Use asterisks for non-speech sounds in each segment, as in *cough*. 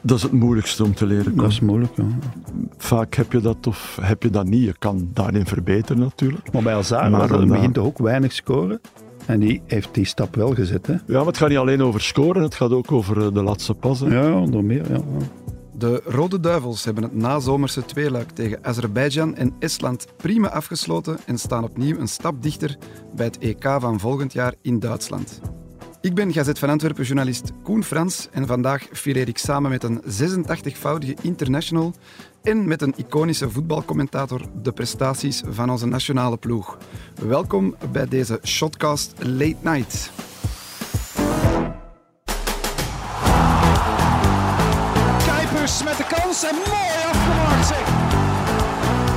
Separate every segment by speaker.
Speaker 1: Dat is het moeilijkste om te leren
Speaker 2: Dat
Speaker 1: koken.
Speaker 2: is moeilijk, ja.
Speaker 1: Vaak heb je dat of heb je dat niet. Je kan daarin verbeteren natuurlijk.
Speaker 2: Maar bij
Speaker 1: Maar
Speaker 2: Azar was er in het
Speaker 1: dan-
Speaker 2: begin toch ook weinig scoren. En die heeft die stap wel gezet, hè.
Speaker 1: Ja, maar het gaat niet alleen over scoren, het gaat ook over eh, de laatste pas. hè.
Speaker 2: Ja, ja, onder meer, ja.
Speaker 3: De Rode Duivels hebben het nazomerse tweeluik tegen Azerbeidzjan en Estland prima afgesloten en staan opnieuw een stap dichter bij het EK van volgend jaar in Duitsland. Ik ben Gazet van Antwerpen journalist Koen Frans en vandaag fileer ik samen met een 86-voudige international en met een iconische voetbalcommentator de prestaties van onze nationale ploeg. Welkom bij deze Shotcast Late Night.
Speaker 4: Kuipers met de kans en mooi afgemaakt zeg.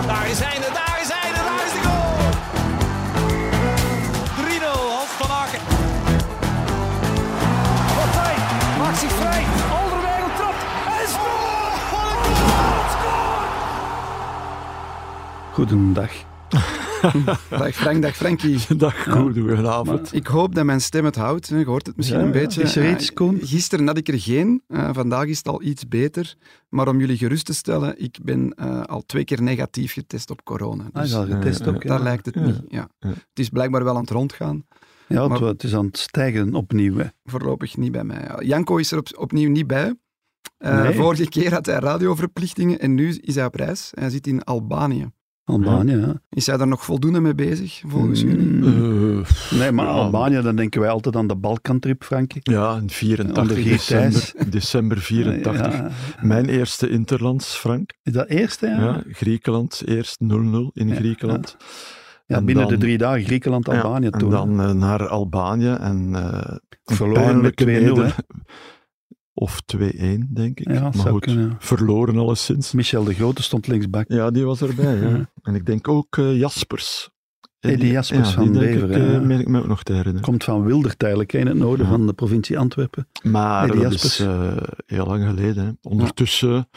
Speaker 4: Daar is hij, daar is hij, daar is de goal. 3-0, Hans van Aken. Partij, maakt zich vrij. Alderweireld trapt en scoort. Oh!
Speaker 2: Goedendag.
Speaker 3: Dag Frank, dag Frankie.
Speaker 1: Dag, goed, goedenavond.
Speaker 3: Ik hoop dat mijn stem het houdt. Je hoort het misschien
Speaker 2: Ja,
Speaker 3: een
Speaker 2: ja.
Speaker 3: beetje.
Speaker 2: Is er iets,
Speaker 3: Ja,
Speaker 2: Koen?
Speaker 3: Gisteren had ik er geen. Eh, vandaag is het al iets beter. Maar om jullie gerust te stellen, ik ben eh, al twee keer negatief getest op corona.
Speaker 2: Hij
Speaker 3: Dus
Speaker 2: is al getest ook,
Speaker 3: daar
Speaker 2: Ah, ja.
Speaker 3: lijkt het niet. Ja. Het is blijkbaar wel aan het rondgaan.
Speaker 2: Ja, het,
Speaker 3: maar-
Speaker 2: het is aan het stijgen opnieuw, hè.
Speaker 3: Voorlopig niet bij mij. Ja. Janko is er op- opnieuw niet bij. Eh,
Speaker 2: Nee.
Speaker 3: Vorige keer had hij radioverplichtingen en nu is hij op reis. Hij zit in Albanië.
Speaker 2: Albanië, ja.
Speaker 3: Is hij daar nog voldoende mee bezig, volgens jullie?
Speaker 2: Mm.
Speaker 1: Eh,
Speaker 2: Nee, maar
Speaker 1: Ja.
Speaker 2: Albanië, dan denken wij altijd aan de Balkantrip, Frankie.
Speaker 1: ja, in
Speaker 2: Onder
Speaker 1: 84
Speaker 2: Geert Thijs.
Speaker 1: december, december 84.
Speaker 2: Ja.
Speaker 1: Mijn eerste interlands, Frank.
Speaker 2: Is dat eerste, ja?
Speaker 1: Ja, Griekenland, eerst 0-0 in Griekenland.
Speaker 2: Ja,
Speaker 1: En
Speaker 2: binnen
Speaker 1: dan-
Speaker 2: de drie dagen Griekenland, Albanië
Speaker 1: Ja, en
Speaker 2: toen.
Speaker 1: dan eh, naar Albanië en eh
Speaker 2: Verloren met
Speaker 1: pijnlijke
Speaker 2: 2-0. hè.
Speaker 1: neder- *laughs* Of 2-1, denk ik.
Speaker 2: Ja,
Speaker 1: maar
Speaker 2: zou
Speaker 1: goed,
Speaker 2: kunnen.
Speaker 1: verloren alleszins.
Speaker 2: Michel de Grote stond linksbak.
Speaker 1: Ja, die was erbij. Ja.
Speaker 2: Ja.
Speaker 1: En ik denk ook eh, Jaspers.
Speaker 2: Eddie Jaspers
Speaker 1: ja,
Speaker 2: van
Speaker 1: die denk
Speaker 2: Beveren,
Speaker 1: Ik, eh,
Speaker 2: ja.
Speaker 1: meen ik me ook nog te herinneren.
Speaker 2: Komt van Wildert eigenlijk, hè, in het noorden
Speaker 1: Ja.
Speaker 2: van de provincie Antwerpen.
Speaker 1: Maar
Speaker 2: Eddie
Speaker 1: dat is eh, heel lang geleden. Hè. Ondertussen,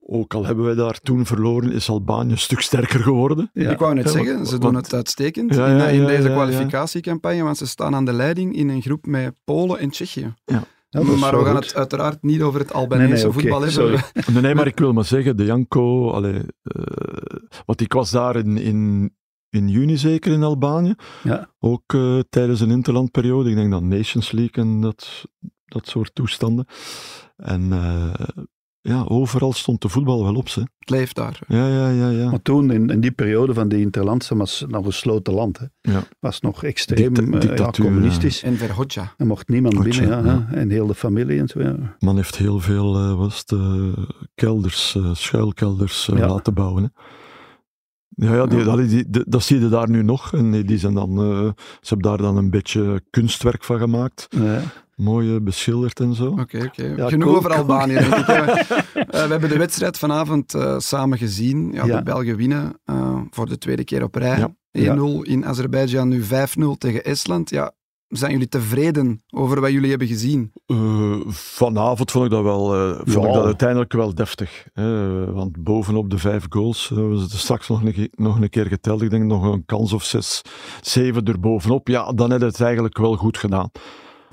Speaker 1: ook al hebben wij daar toen verloren, is Albanië een stuk sterker
Speaker 2: *laughs*
Speaker 1: geworden.
Speaker 2: Ja.
Speaker 3: Ik wou net
Speaker 1: Ja,
Speaker 3: zeggen,
Speaker 1: want-
Speaker 3: ze doen
Speaker 1: want-
Speaker 3: het uitstekend
Speaker 1: Ja,
Speaker 3: in, eh,
Speaker 1: ja,
Speaker 3: in
Speaker 1: ja,
Speaker 3: deze
Speaker 1: ja, ja.
Speaker 3: kwalificatiecampagne, want ze staan aan de leiding in een groep met Polen en Tsjechië.
Speaker 2: Ja, dat is
Speaker 3: maar
Speaker 2: wel
Speaker 3: we gaan
Speaker 2: goed.
Speaker 3: het uiteraard niet over het Albanese
Speaker 2: Nee, nee, oké,
Speaker 3: voetbal hebben.
Speaker 2: sorry.
Speaker 1: Nee, nee, maar ik wil maar zeggen, de Janko, allee, eh, want ik was daar in, in, in juni zeker in Albanië,
Speaker 2: Ja.
Speaker 1: ook eh, tijdens een interlandperiode, ik denk dan Nations League en dat, dat soort toestanden. En eh, ja, overal stond de voetbal wel op, ze.
Speaker 3: Het leeft daar.
Speaker 1: Ja, ja, ja, ja.
Speaker 2: Maar toen, in, in die periode van die interlandse, was het nog een gesloten land. Hè.
Speaker 1: Ja.
Speaker 2: Was nog extreem
Speaker 1: Dicta-
Speaker 2: eh, ja,
Speaker 1: dictatuur,
Speaker 2: communistisch.
Speaker 3: En Verhoja.
Speaker 2: Er mocht niemand
Speaker 1: Goed
Speaker 2: binnen.
Speaker 1: zo,
Speaker 2: Ja,
Speaker 1: ja.
Speaker 2: hè. En heel de familie en zo. Ja.
Speaker 1: Man heeft heel veel eh, was het, eh, kelders, eh, schuilkelders eh,
Speaker 2: Ja.
Speaker 1: laten bouwen. Hè. Ja, ja, die,
Speaker 3: Ja.
Speaker 1: allee, die- de- dat zie je daar nu nog. En die die zijn dan, eh, ze hebben daar dan een beetje kunstwerk van gemaakt.
Speaker 2: Ja.
Speaker 1: Mooi eh, beschilderd en zo.
Speaker 3: Oké, oké.
Speaker 2: Ja,
Speaker 3: Genoeg
Speaker 2: cool,
Speaker 3: over
Speaker 2: cool.
Speaker 3: Albanië.
Speaker 2: *laughs*
Speaker 3: denk ik. Eh, we hebben de wedstrijd vanavond eh, samen gezien. Ja,
Speaker 2: Ja.
Speaker 3: De Belgen winnen eh, voor de tweede keer op rij.
Speaker 1: Ja.
Speaker 3: 1-0 in Azerbeidzjan, nu 5-0 tegen Estland. Ja, zijn jullie tevreden over wat jullie hebben gezien?
Speaker 1: Eh, vanavond vond ik dat wel, eh, vond ik
Speaker 2: Ja.
Speaker 1: dat uiteindelijk wel deftig. hè. want bovenop de vijf goals, eh, we ze straks nog een, keer- nog een keer geteld, ik denk nog een kans of zes, zeven erbovenop. Ja, dan heb je het eigenlijk wel goed gedaan.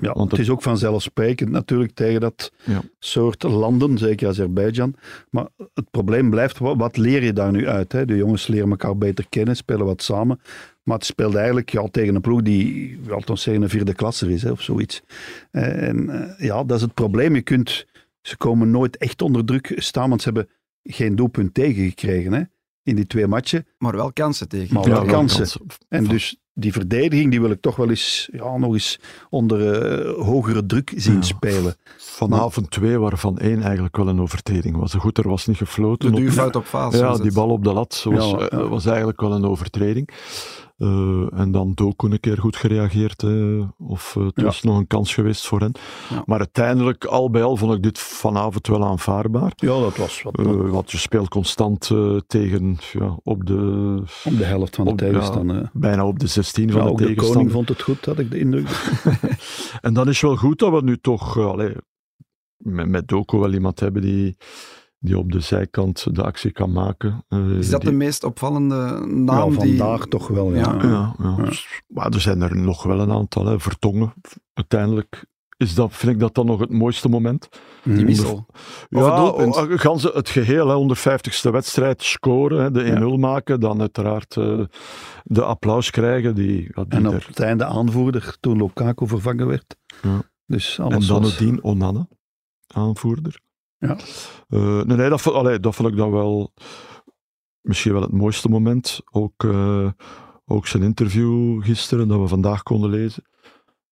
Speaker 2: Ja,
Speaker 1: Want
Speaker 2: het is ook vanzelfsprekend natuurlijk tegen dat
Speaker 1: Ja.
Speaker 2: soort landen, zeker Azerbeidzjan. Maar het probleem blijft, wa- wat leer je daar nu uit? Hè? De jongens leren elkaar beter kennen, spelen wat samen. Maar het speelt eigenlijk ja, tegen een ploeg die, laten we zeggen, een vierde klasser is hè, of zoiets. En eh, ja, dat is het probleem. Je kunt, ze komen nooit echt onder druk staan, want ze hebben geen doelpunt tegengekregen hè? in die twee matchen.
Speaker 3: Maar wel kansen tegen.
Speaker 2: Maar
Speaker 1: Ja,
Speaker 2: wel kansen. En
Speaker 1: Van-
Speaker 2: dus die verdediging die wil ik toch wel eens ja, nog eens onder eh, hogere druk zien
Speaker 1: Ja.
Speaker 2: spelen.
Speaker 1: Vanavond twee, waarvan één eigenlijk wel een overtreding was. Goed, er was niet gefloten.
Speaker 3: De
Speaker 1: op-
Speaker 3: duurfout op fase.
Speaker 1: Ja,
Speaker 3: was
Speaker 1: die
Speaker 3: het.
Speaker 1: bal op de lat was,
Speaker 2: Ja, ja.
Speaker 1: eh, was eigenlijk wel een overtreding. Eh, en dan Doku een keer goed gereageerd. eh, of eh, het
Speaker 2: Ja.
Speaker 1: was nog een kans geweest voor hen.
Speaker 3: Ja.
Speaker 1: Maar uiteindelijk, al bij al, vond ik dit vanavond wel aanvaardbaar.
Speaker 2: Ja, dat was wat,
Speaker 1: Eh,
Speaker 2: wat
Speaker 1: want je speelt constant eh, tegen, ja, op de,
Speaker 2: om de helft van de
Speaker 1: Op- ja,
Speaker 2: tegenstander. hè.
Speaker 1: bijna op de 16
Speaker 2: Ja,
Speaker 1: van
Speaker 2: ook
Speaker 1: de
Speaker 2: de koning
Speaker 1: tegenstander.
Speaker 2: vond het goed, had ik de indruk.
Speaker 1: En dan is wel goed dat we nu toch eh, allee, met, met Doku wel iemand hebben die, die op de zijkant de actie kan maken. Eh,
Speaker 3: Is dat
Speaker 1: die-
Speaker 3: de meest opvallende naam
Speaker 2: Nou,
Speaker 3: die...
Speaker 2: vandaag toch wel, ja.
Speaker 3: Ja.
Speaker 1: Ja, Dus, ja.
Speaker 2: Ja.
Speaker 1: Maar er zijn er nog wel een aantal. Hè. Vertongen, uiteindelijk is dat, vind ik dat dan nog het mooiste moment.
Speaker 2: Mhm.
Speaker 3: Die wissel. Of ah, oh, het doelpunt.
Speaker 1: o- o- ganse het geheel, hè, 150ste wedstrijd, scoren, hè, de 1-0 maken, dan uiteraard eh, de applaus krijgen. Die, ja, die
Speaker 2: En op
Speaker 1: er-
Speaker 2: het einde aanvoerder, toen Lukaku vervangen werd.
Speaker 1: Ja.
Speaker 2: Dus
Speaker 1: en
Speaker 2: alles
Speaker 1: dan
Speaker 2: was...
Speaker 1: het dien Onana, aanvoerder.
Speaker 2: Ja.
Speaker 1: Eh, nee, nee dat, vo- allee, dat vond ik dan wel misschien wel het mooiste moment. Ook, eh, ook zijn interview gisteren, dat we vandaag konden lezen,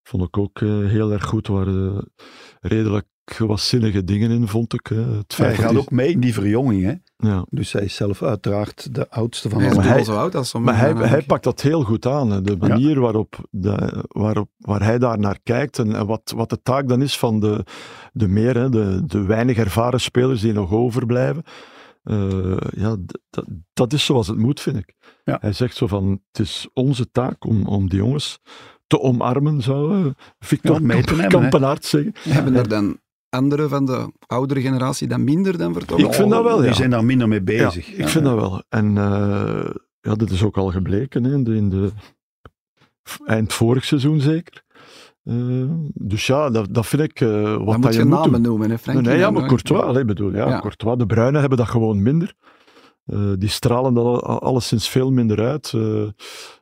Speaker 1: vond ik ook eh, heel erg goed. Er waren redelijk waanzinnige dingen in, vond ik. hè. Het feit
Speaker 2: Hij
Speaker 1: dat
Speaker 2: gaat
Speaker 1: hij-
Speaker 2: ook mee in die verjonging, hè.
Speaker 1: Ja.
Speaker 2: Dus hij is zelf uiteraard de oudste van
Speaker 3: Hij is
Speaker 1: maar
Speaker 2: allemaal.
Speaker 3: dubbel
Speaker 1: hij-
Speaker 3: zo oud als eh, sommigen.
Speaker 1: Maar hij,
Speaker 3: namelijk.
Speaker 1: hij pakt dat heel goed aan. hè. De manier waarop, de, waarop waar hij daar naar kijkt en, en wat, wat de taak dan is van de, de meer, hè, de, de weinig ervaren spelers die nog overblijven. Eh, ja, d- dat- dat is zoals het moet, vind ik.
Speaker 2: Ja.
Speaker 1: Hij zegt zo van, het is onze taak om, om die jongens te omarmen, zou eh, Victor
Speaker 2: Ja, mee te
Speaker 1: Kamp-
Speaker 2: nemen, hè.
Speaker 1: Kampenaert zeggen.
Speaker 3: Hebben er dan anderen van de oudere generatie dan minder dan vertrokken?
Speaker 1: Ik vind dat wel,
Speaker 2: Die
Speaker 1: ja.
Speaker 2: zijn daar minder mee bezig.
Speaker 1: Ja, ik vind dat wel. En eh, ja, dat is ook al gebleken hè, in de, in de eind vorig seizoen zeker. Eh, dus ja, dat, dat vind ik eh, wat
Speaker 3: Dan
Speaker 1: dat
Speaker 3: moet
Speaker 1: je
Speaker 3: je
Speaker 1: moet
Speaker 3: namen
Speaker 1: doen.
Speaker 3: noemen, hè,
Speaker 1: Nee,
Speaker 3: Frankie.
Speaker 1: nee, ja,
Speaker 3: dan,
Speaker 1: maar
Speaker 3: hè.
Speaker 1: Courtois, allee, bedoel, ja,
Speaker 3: Ja.
Speaker 1: Courtois. De Bruinen hebben dat gewoon minder. Eh, die stralen dat al- alleszins veel minder uit. Eh, eh,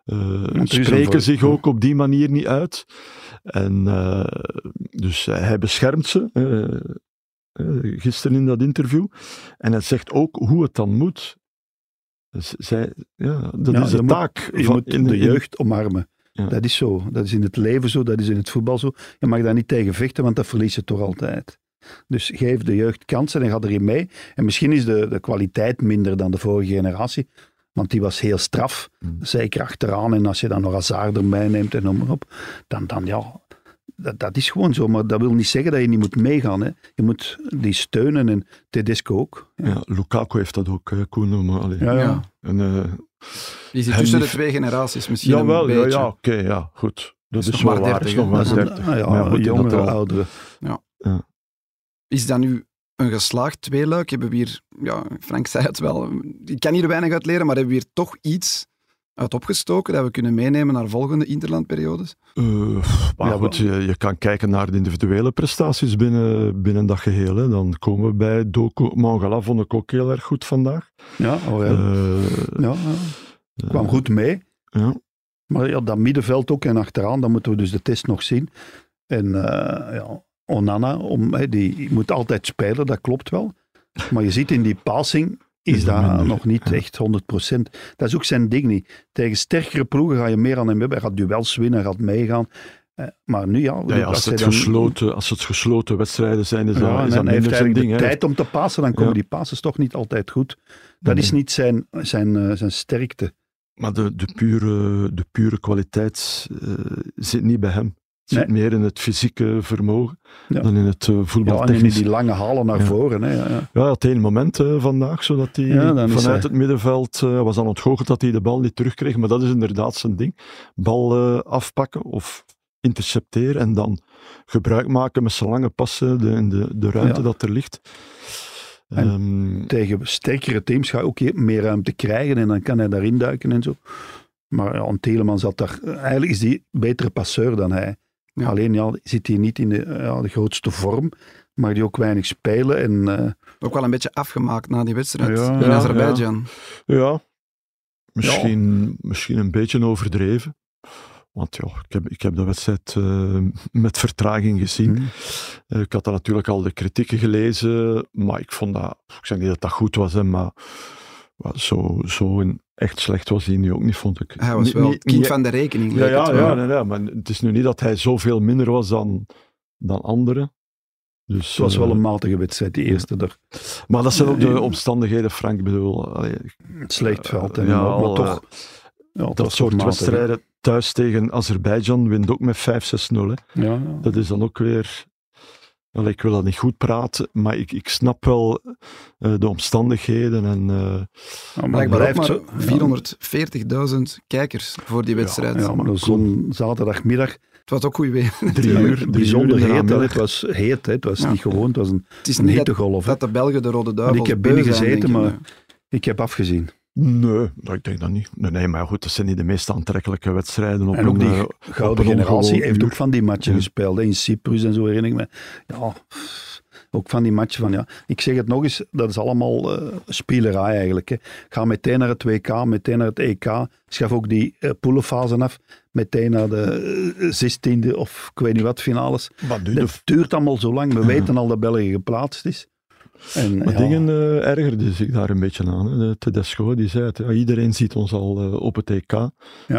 Speaker 2: een
Speaker 1: spreken
Speaker 2: voor-
Speaker 1: zich ook op die manier niet uit. En eh, dus hij beschermt ze. eh, eh, gisteren in dat interview. En hij zegt ook hoe het dan moet. Dus zij, ja, dat
Speaker 2: Ja,
Speaker 1: is de
Speaker 2: je moet-
Speaker 1: taak
Speaker 2: Je
Speaker 1: van
Speaker 2: moet
Speaker 1: in
Speaker 2: de
Speaker 1: in-
Speaker 2: jeugd omarmen.
Speaker 1: Ja.
Speaker 2: Dat is zo. Dat is in het leven zo, dat is in het voetbal zo. Je mag daar niet tegen vechten, want dat verlies je toch altijd. Dus geef de jeugd kansen en ga erin mee. En misschien is de, de kwaliteit minder dan de vorige generatie, want die was heel straf.
Speaker 1: Mm.
Speaker 2: Zeker achteraan. En als je dan nog Hazard erbij neemt en noem maar op, dan, dan ja... Dat, dat is gewoon zo, maar dat wil niet zeggen dat je niet moet meegaan. Hè. Je moet die steunen en Tedesco ook.
Speaker 1: Ja, Lukaku heeft dat ook, eh, Koen. Maar, allee,
Speaker 3: Ja.
Speaker 1: en, eh,
Speaker 3: Die zit
Speaker 1: Hem
Speaker 3: tussen de
Speaker 1: niet-
Speaker 3: twee generaties misschien
Speaker 1: Jawel,
Speaker 3: een
Speaker 1: ja,
Speaker 3: beetje.
Speaker 1: ja oké, ja, goed. Dat is,
Speaker 3: Is nog
Speaker 1: wel
Speaker 3: maar
Speaker 1: waar,
Speaker 3: 30,
Speaker 1: is nog
Speaker 3: hè?
Speaker 1: maar
Speaker 2: Dat is een-
Speaker 1: 30.
Speaker 2: ah ja,
Speaker 1: Maar goed, in dat
Speaker 2: jongere,
Speaker 1: al-
Speaker 2: oudere.
Speaker 3: Is dat nu een geslaagd tweeluik? Hebben we hier, ja, Frank zei het wel, ik kan hier weinig uit leren, maar hebben we hier toch iets uit opgestoken dat we kunnen meenemen naar volgende interlandperiodes?
Speaker 1: Eh, pff, maar
Speaker 2: Ja,
Speaker 1: goed, je, je kan kijken naar de individuele prestaties binnen, binnen dat geheel. Hè. Dan komen we bij Doku. Mangala vond ik ook heel erg goed vandaag.
Speaker 2: Ja, oh ja.
Speaker 1: Eh,
Speaker 2: ja, ja. kwam goed mee.
Speaker 1: Ja.
Speaker 2: Maar ja, dat middenveld ook en achteraan, dan moeten we dus de test nog zien. En eh, ja, Onana, om, hè, die moet altijd spelen, dat klopt wel. Maar je ziet in die passing is,
Speaker 1: Is dat
Speaker 2: dat
Speaker 1: minder,
Speaker 2: nog niet
Speaker 1: ja.
Speaker 2: echt 100%. Dat is ook zijn ding niet. Tegen sterkere ploegen ga je meer aan hem hebben. Hij gaat duels winnen, hij gaat meegaan. Eh, maar nu ja,
Speaker 1: Ja, ja, als,
Speaker 2: hij
Speaker 1: het
Speaker 2: dan-
Speaker 1: gesloten, als het gesloten wedstrijden zijn, is
Speaker 2: Ja,
Speaker 1: dat,
Speaker 2: en
Speaker 1: is dat
Speaker 2: dan
Speaker 1: minder
Speaker 2: heeft hij
Speaker 1: zijn
Speaker 2: eigenlijk
Speaker 1: ding.
Speaker 2: de
Speaker 1: hè.
Speaker 2: tijd om te passen, dan komen
Speaker 1: Ja.
Speaker 2: die passes toch niet altijd goed. Dat is niet zijn, zijn, eh, zijn sterkte.
Speaker 1: Maar de, de, pure, de pure kwaliteit eh, zit niet bij hem. Het zit
Speaker 2: Nee.
Speaker 1: meer in het fysieke vermogen
Speaker 2: Ja.
Speaker 1: dan in het eh,
Speaker 2: Ja, en in
Speaker 1: voetbaltechnisch.
Speaker 2: die lange halen naar
Speaker 1: Ja.
Speaker 2: voren. Hè, ja, ja.
Speaker 1: Ja, hij had één moment eh, vandaag, zodat hij
Speaker 2: Ja, dan is
Speaker 1: vanuit
Speaker 2: hij-
Speaker 1: het middenveld eh, was aan ontgoocheld dat hij de bal niet terugkreeg. Maar dat is inderdaad zijn ding. Bal eh, afpakken of intercepteren en dan gebruik maken met zijn lange passen de, in de, de ruimte
Speaker 2: Ja.
Speaker 1: dat er ligt.
Speaker 2: En-
Speaker 1: Ehm,
Speaker 2: tegen sterkere teams ga je ook meer ruimte krijgen en dan kan hij daarin duiken en zo. Maar ja, Teleman zat daar. Eigenlijk is hij betere passeur dan hij.
Speaker 3: Ja.
Speaker 2: Alleen ja, zit hij niet in de, ja, de grootste vorm, maar die ook weinig spelen. En, eh,
Speaker 3: Ook wel een beetje afgemaakt na die wedstrijd
Speaker 2: Ja,
Speaker 3: in
Speaker 1: ja,
Speaker 3: Azerbeidzjan.
Speaker 1: Ja, misschien, misschien een beetje overdreven. Want ja, ik heb, ik heb de wedstrijd eh, met vertraging gezien.
Speaker 2: Hmm.
Speaker 1: Eh, ik had daar natuurlijk al de kritieken gelezen, maar ik vond dat... Ik zeg niet dat dat goed was, hè, maar wel, zo, zo in- echt slecht was hij nu ook niet, vond ik.
Speaker 3: Hij was
Speaker 1: Niet-
Speaker 3: wel
Speaker 1: niet-
Speaker 3: kind
Speaker 1: niet-
Speaker 3: van de rekening.
Speaker 1: Ja,
Speaker 3: leek het
Speaker 1: ja,
Speaker 3: wel.
Speaker 1: ja, nee, nee, maar het is nu niet dat hij zoveel minder was dan, dan anderen. Dus,
Speaker 2: het was
Speaker 1: eh,
Speaker 2: wel een matige wedstrijd, die eerste. daar
Speaker 1: maar dat zijn ook
Speaker 2: Nee.
Speaker 1: de omstandigheden, Frank. Ik bedoel, allee,
Speaker 2: Het slecht veld. En
Speaker 1: ja,
Speaker 2: maar,
Speaker 1: al,
Speaker 2: toch,
Speaker 1: eh,
Speaker 2: ja,
Speaker 1: dat
Speaker 2: het was toch
Speaker 1: soort
Speaker 2: matig.
Speaker 1: wedstrijden thuis tegen Azerbeidzjan wint ook met 5-6-0. hè.
Speaker 2: Ja, ja.
Speaker 1: Dat is dan ook weer. Wel, ik wil dat niet goed praten, maar ik, ik snap wel eh, de omstandigheden. En,
Speaker 2: *laughs*
Speaker 1: eh,
Speaker 2: Ja, maar
Speaker 3: Blijkbaar ook
Speaker 2: blijft
Speaker 3: maar
Speaker 2: zo-
Speaker 3: 440.000 kijkers voor die wedstrijd.
Speaker 2: Ja, ja, maar zo'n zaterdagmiddag,
Speaker 3: Het was ook goed weer. *laughs*
Speaker 1: drie
Speaker 2: ja,
Speaker 1: uur, drie
Speaker 2: bijzonder
Speaker 1: uur in de
Speaker 2: heet. hè.
Speaker 1: namiddag.
Speaker 2: Het was heet, hè. het was
Speaker 3: Ja.
Speaker 2: niet gewoon, het was een,
Speaker 3: Het is
Speaker 2: een
Speaker 3: niet dat,
Speaker 2: hittegolf. hè.
Speaker 3: dat de Belgen de rode
Speaker 2: Want
Speaker 3: duivel
Speaker 2: ik heb binnen gezeten, maar ik heb afgezien.
Speaker 1: Nee, dat- ik denk dat niet. Nee, nee, maar goed, dat zijn niet de meest aantrekkelijke wedstrijden. Op
Speaker 2: En ook
Speaker 1: een,
Speaker 2: die
Speaker 1: eh, op
Speaker 2: gouden
Speaker 1: een
Speaker 2: generatie
Speaker 1: ongewoon
Speaker 2: heeft
Speaker 1: uur.
Speaker 2: ook van die matchen
Speaker 1: Ja.
Speaker 2: gespeeld. hè, In Cyprus en zo herinner ik me. Ja, ook van die matchen van ja. Ik zeg het nog eens, dat is allemaal eh spielerij eigenlijk. Hè. Ga meteen naar het WK, meteen naar het EK. Schaf ook die eh, poelenfase af. Meteen naar de eh, 16e of ik weet niet wat finales.
Speaker 1: Maar nu de
Speaker 2: Het duurt allemaal zo lang. We weten al dat België geplaatst is. En,
Speaker 1: Maar
Speaker 2: ja,
Speaker 1: dingen eh ergerde zich daar een beetje aan. Hè. De Tedesco die zei het, ja, iedereen ziet ons al eh, op het EK. Eh,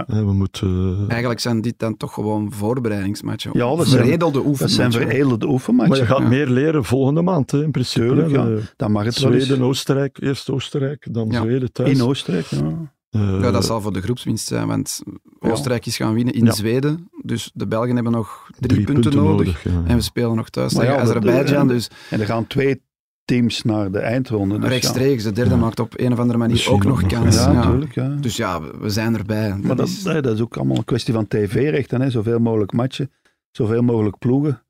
Speaker 1: we moeten... eh,
Speaker 3: Eigenlijk zijn dit dan toch gewoon voorbereidingsmatchen.
Speaker 2: Ja, dat zijn-
Speaker 3: Veredelde
Speaker 2: dat zijn
Speaker 3: oefenmatchen.
Speaker 2: veredelde
Speaker 1: maar je
Speaker 2: oefenmatchen.
Speaker 1: gaat meer leren volgende maand, hè, in principe.
Speaker 2: Tuurlijk,
Speaker 1: hè.
Speaker 2: ja.
Speaker 1: De
Speaker 2: Dan mag het wel eens.
Speaker 1: Zweden, eh, Oostenrijk, eerst Oostenrijk, dan
Speaker 3: Ja.
Speaker 1: Zweden thuis.
Speaker 2: In Oostenrijk. Ja.
Speaker 1: Eh,
Speaker 3: Ja, dat zal voor de groepswinst zijn, want
Speaker 2: Ja.
Speaker 3: Oostenrijk is gaan winnen in
Speaker 1: Ja.
Speaker 3: Zweden. Dus de Belgen hebben nog drie, punten, nodig.
Speaker 1: ja.
Speaker 3: En we spelen nog thuis
Speaker 2: Maar
Speaker 3: tegen
Speaker 2: ja, dat-
Speaker 3: Azerbeidzjan. Dus
Speaker 2: En er gaan twee teams naar de eindronde. Dus ja.
Speaker 3: rechtstreeks, de derde
Speaker 1: Ja.
Speaker 3: maakt op een of andere manier
Speaker 1: Misschien
Speaker 3: ook
Speaker 1: ook
Speaker 3: nog
Speaker 1: nog,
Speaker 2: Ja,
Speaker 3: kans.
Speaker 1: Dus,
Speaker 2: ja,
Speaker 3: Ja.
Speaker 2: natuurlijk. Ja.
Speaker 3: Dus ja, we, we zijn erbij. Dat
Speaker 2: maar dat,
Speaker 3: is-
Speaker 2: nee, dat is ook allemaal een kwestie van tv-rechten. hè. Zoveel mogelijk matchen, zoveel mogelijk ploegen.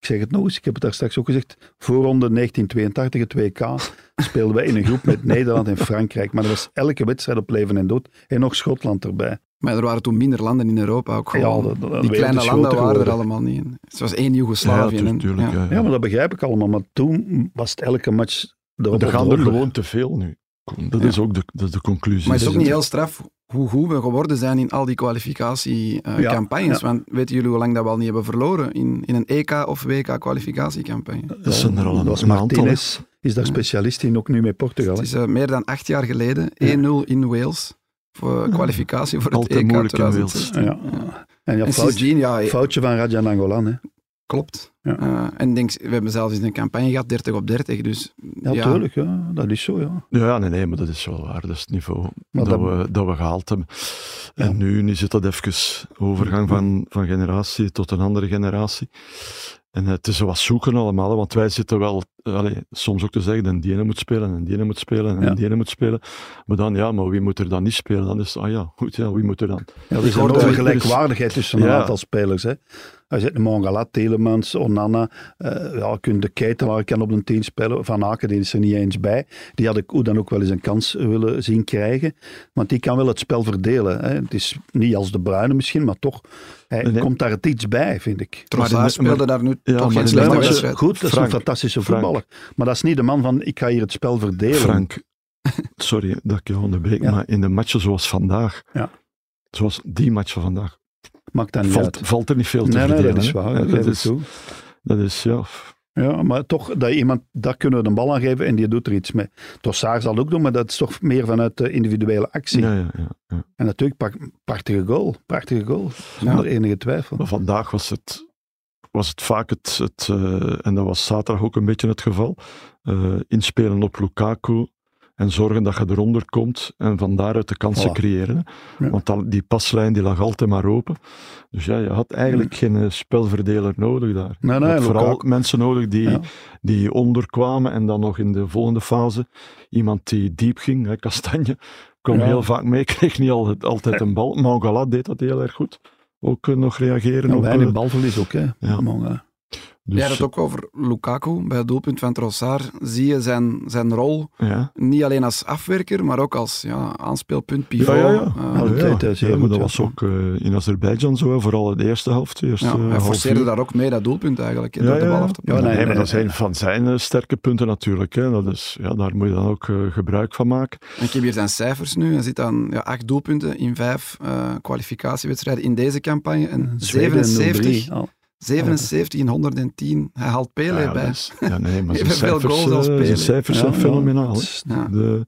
Speaker 2: Ik zeg het nog eens, ik heb het daar straks ook gezegd. Voorronde 1982, het WK, speelden wij in een groep met Nederland en Frankrijk. Maar dat was elke wedstrijd op leven en dood. En nog Schotland erbij.
Speaker 3: Maar er waren toen minder landen in Europa ook
Speaker 2: Ja,
Speaker 3: gewoon.
Speaker 2: dat- dat- de
Speaker 3: Die
Speaker 2: wereld
Speaker 3: kleine
Speaker 2: is
Speaker 3: landen
Speaker 2: groter
Speaker 3: waren er
Speaker 2: geworden.
Speaker 3: allemaal niet in. Dus Het was één
Speaker 1: Ja,
Speaker 3: Joegoslavië.
Speaker 1: tu-
Speaker 3: en-
Speaker 1: tuurlijk.
Speaker 3: ja.
Speaker 1: Ja.
Speaker 2: Ja, maar dat begrijp ik allemaal. Maar toen was het elke match...
Speaker 1: Maar
Speaker 2: erop
Speaker 1: er gaan er
Speaker 2: eronder.
Speaker 1: gewoon te veel nu. Dat
Speaker 3: Ja.
Speaker 1: is ook de, dat is de conclusie.
Speaker 3: Maar het is ook
Speaker 1: Dus
Speaker 3: niet heel straf hoe goed we geworden zijn in al die kwalificatiecampagnes.
Speaker 2: Ja,
Speaker 3: campagnes.
Speaker 2: ja.
Speaker 3: Want weten jullie hoe lang dat we al niet hebben verloren in, in een EK of WK kwalificatiecampagne?
Speaker 1: Dat zijn er al een,
Speaker 2: was
Speaker 1: een aantal. hè.
Speaker 2: Martinez, is daar specialist in, ook nu met Portugal.
Speaker 3: Het
Speaker 2: hè.
Speaker 3: is eh, meer dan acht jaar geleden, 1-0 in Wales, voor kwalificatie voor het E
Speaker 1: Altijd
Speaker 3: EK
Speaker 1: moeilijk in Wales.
Speaker 3: 2016.
Speaker 2: Ja. En ja, foutje,
Speaker 3: En sindsdien, ja,
Speaker 2: foutje van Rajan Angolan, hè.
Speaker 3: klopt.
Speaker 2: Ja.
Speaker 3: Eh, en ik denk, we hebben zelfs eens een campagne gehad, 30 op 30, dus
Speaker 2: Ja,
Speaker 3: Ja.
Speaker 2: tuurlijk, ja. dat is zo. Ja.
Speaker 1: Ja, ja, nee, nee, maar dat is wel waar. Dat is het niveau dat,
Speaker 2: dat-
Speaker 1: we, dat we gehaald hebben.
Speaker 2: Ja.
Speaker 1: En nu, nu zit dat even overgang van, van generatie tot een andere generatie. En het is wat zoeken allemaal, hè, want wij zitten wel eh, allee, soms ook te zeggen, en die ene moet spelen, en die ene moet spelen, en
Speaker 2: Ja.
Speaker 1: die ene moet spelen. Maar dan, ja, maar wie moet er dan niet spelen? Dan is het, ah ja, goed, ja, wie moet er dan?
Speaker 2: Ja, er is
Speaker 3: hoor
Speaker 2: een
Speaker 3: dat
Speaker 2: enorme
Speaker 1: er- dus-
Speaker 2: gelijkwaardigheid tussen een
Speaker 1: Ja.
Speaker 2: aantal spelers. Hè. Hij zit Mongala, Telemans, Onana. eh ja, je kunt de Keitelaar kan op een tien spelen. Van Aken die is er niet eens bij. Die had ik hoe dan ook wel eens een kans willen zien krijgen. Want die kan wel het spel verdelen. Hè. Het is niet als de Bruine misschien, maar toch. Hij
Speaker 1: Nee.
Speaker 2: komt daar iets bij, vind ik.
Speaker 3: Trossard
Speaker 1: maar-
Speaker 3: speelde daar nu
Speaker 1: Ja,
Speaker 3: toch
Speaker 1: maar
Speaker 3: geen
Speaker 1: de
Speaker 3: slechte
Speaker 1: Duitsers-
Speaker 3: wedstrijd.
Speaker 2: Goed, dat is
Speaker 1: Frank,
Speaker 2: een fantastische
Speaker 1: Frank.
Speaker 2: voetballer. Maar dat is niet de man van, ik ga hier het spel verdelen.
Speaker 1: Frank, *laughs* sorry dat ik jou onderbreek,
Speaker 2: Ja.
Speaker 1: maar in de matchen zoals vandaag,
Speaker 2: Ja.
Speaker 1: zoals die match van vandaag,
Speaker 2: Maakt dat niet
Speaker 1: valt,
Speaker 2: uit.
Speaker 1: valt er niet veel te
Speaker 2: Nee, nee,
Speaker 1: verdelen.
Speaker 2: dat is
Speaker 1: hè.
Speaker 2: waar.
Speaker 1: Ja,
Speaker 2: dat
Speaker 1: dat,
Speaker 2: geef ik
Speaker 1: is,
Speaker 2: toe.
Speaker 1: dat is, ja...
Speaker 2: Ja, maar toch, dat iemand, daar kunnen we de bal aan geven en die doet er iets mee. Tossaar zal het ook doen, maar dat is toch meer vanuit de individuele actie.
Speaker 1: Ja, ja, ja, ja.
Speaker 2: En natuurlijk, pak- prachtige goal. Prachtige goal. Zonder enige twijfel.
Speaker 1: Maar vandaag was het, was het vaak het, het eh, en dat was zaterdag ook een beetje het geval, eh, inspelen op Lukaku en zorgen dat je eronder komt en van daaruit de kansen
Speaker 2: Voilà.
Speaker 1: creëren. hè.
Speaker 2: Ja.
Speaker 1: Want dan- die paslijn die lag altijd maar open. Dus ja, je had eigenlijk geen eh, spelverdeler nodig daar.
Speaker 2: Nee,
Speaker 1: Je
Speaker 2: nee,
Speaker 1: had vooral
Speaker 2: Lukaku.
Speaker 1: mensen nodig die,
Speaker 2: Ja.
Speaker 1: die onderkwamen en dan nog in de volgende fase iemand die diep ging, hè, Kastanje, kwam
Speaker 2: Ja.
Speaker 1: heel vaak mee, *laughs* kreeg niet al- altijd een bal. Mangala deed dat heel erg goed. Ook eh, nog reageren
Speaker 2: Nou,
Speaker 1: op...
Speaker 2: weinig
Speaker 1: eh,
Speaker 2: balverlies ook, hè.
Speaker 1: Ja.
Speaker 2: Maar, eh,
Speaker 1: dus,
Speaker 3: Jij had het ook over Lukaku. Bij het doelpunt van Trossard zie je zijn, zijn rol
Speaker 1: Ja.
Speaker 3: niet alleen als afwerker, maar ook als ja, aanspeelpunt, pivot.
Speaker 1: Ja, ja, ja.
Speaker 3: Eh,
Speaker 2: Ja, dat deed hij
Speaker 1: Ja,
Speaker 2: zeer
Speaker 1: maar
Speaker 2: goed,
Speaker 1: dat
Speaker 2: ja.
Speaker 1: was ook eh, in Azerbeidzjan zo, hè, vooral de eerste helft. de Eerste,
Speaker 3: ja,
Speaker 1: eh,
Speaker 3: hij
Speaker 1: half
Speaker 3: forceerde
Speaker 1: uur.
Speaker 3: daar ook mee, dat doelpunt eigenlijk, hè,
Speaker 1: Ja,
Speaker 3: door de
Speaker 1: ja,
Speaker 3: bal
Speaker 1: ja.
Speaker 3: af te
Speaker 1: Ja,
Speaker 2: Ja,
Speaker 3: pakken.
Speaker 1: nee,
Speaker 2: nee,
Speaker 1: maar dat
Speaker 2: nee.
Speaker 1: zijn van zijn eh, sterke punten natuurlijk. Hè. Dat is, ja, daar moet je dan ook eh, gebruik van maken.
Speaker 3: En ik heb hier zijn cijfers nu. Hij zit aan ja, acht doelpunten in vijf eh, kwalificatiewedstrijden in deze campagne. En
Speaker 2: Zweden
Speaker 3: 77,
Speaker 2: 0-3. Al.
Speaker 3: 77 in 110. Hij haalt Pele
Speaker 1: Nou ja,
Speaker 3: bij.
Speaker 1: dat is- ja, nee, maar
Speaker 3: Je
Speaker 1: zijn
Speaker 3: hebt veel
Speaker 1: cijfers,
Speaker 3: goals als
Speaker 1: eh,
Speaker 3: speler.
Speaker 1: zijn cijfers
Speaker 2: Ja,
Speaker 1: zijn
Speaker 2: ja.
Speaker 1: fenomenaal. hè.
Speaker 3: Ja.
Speaker 1: De,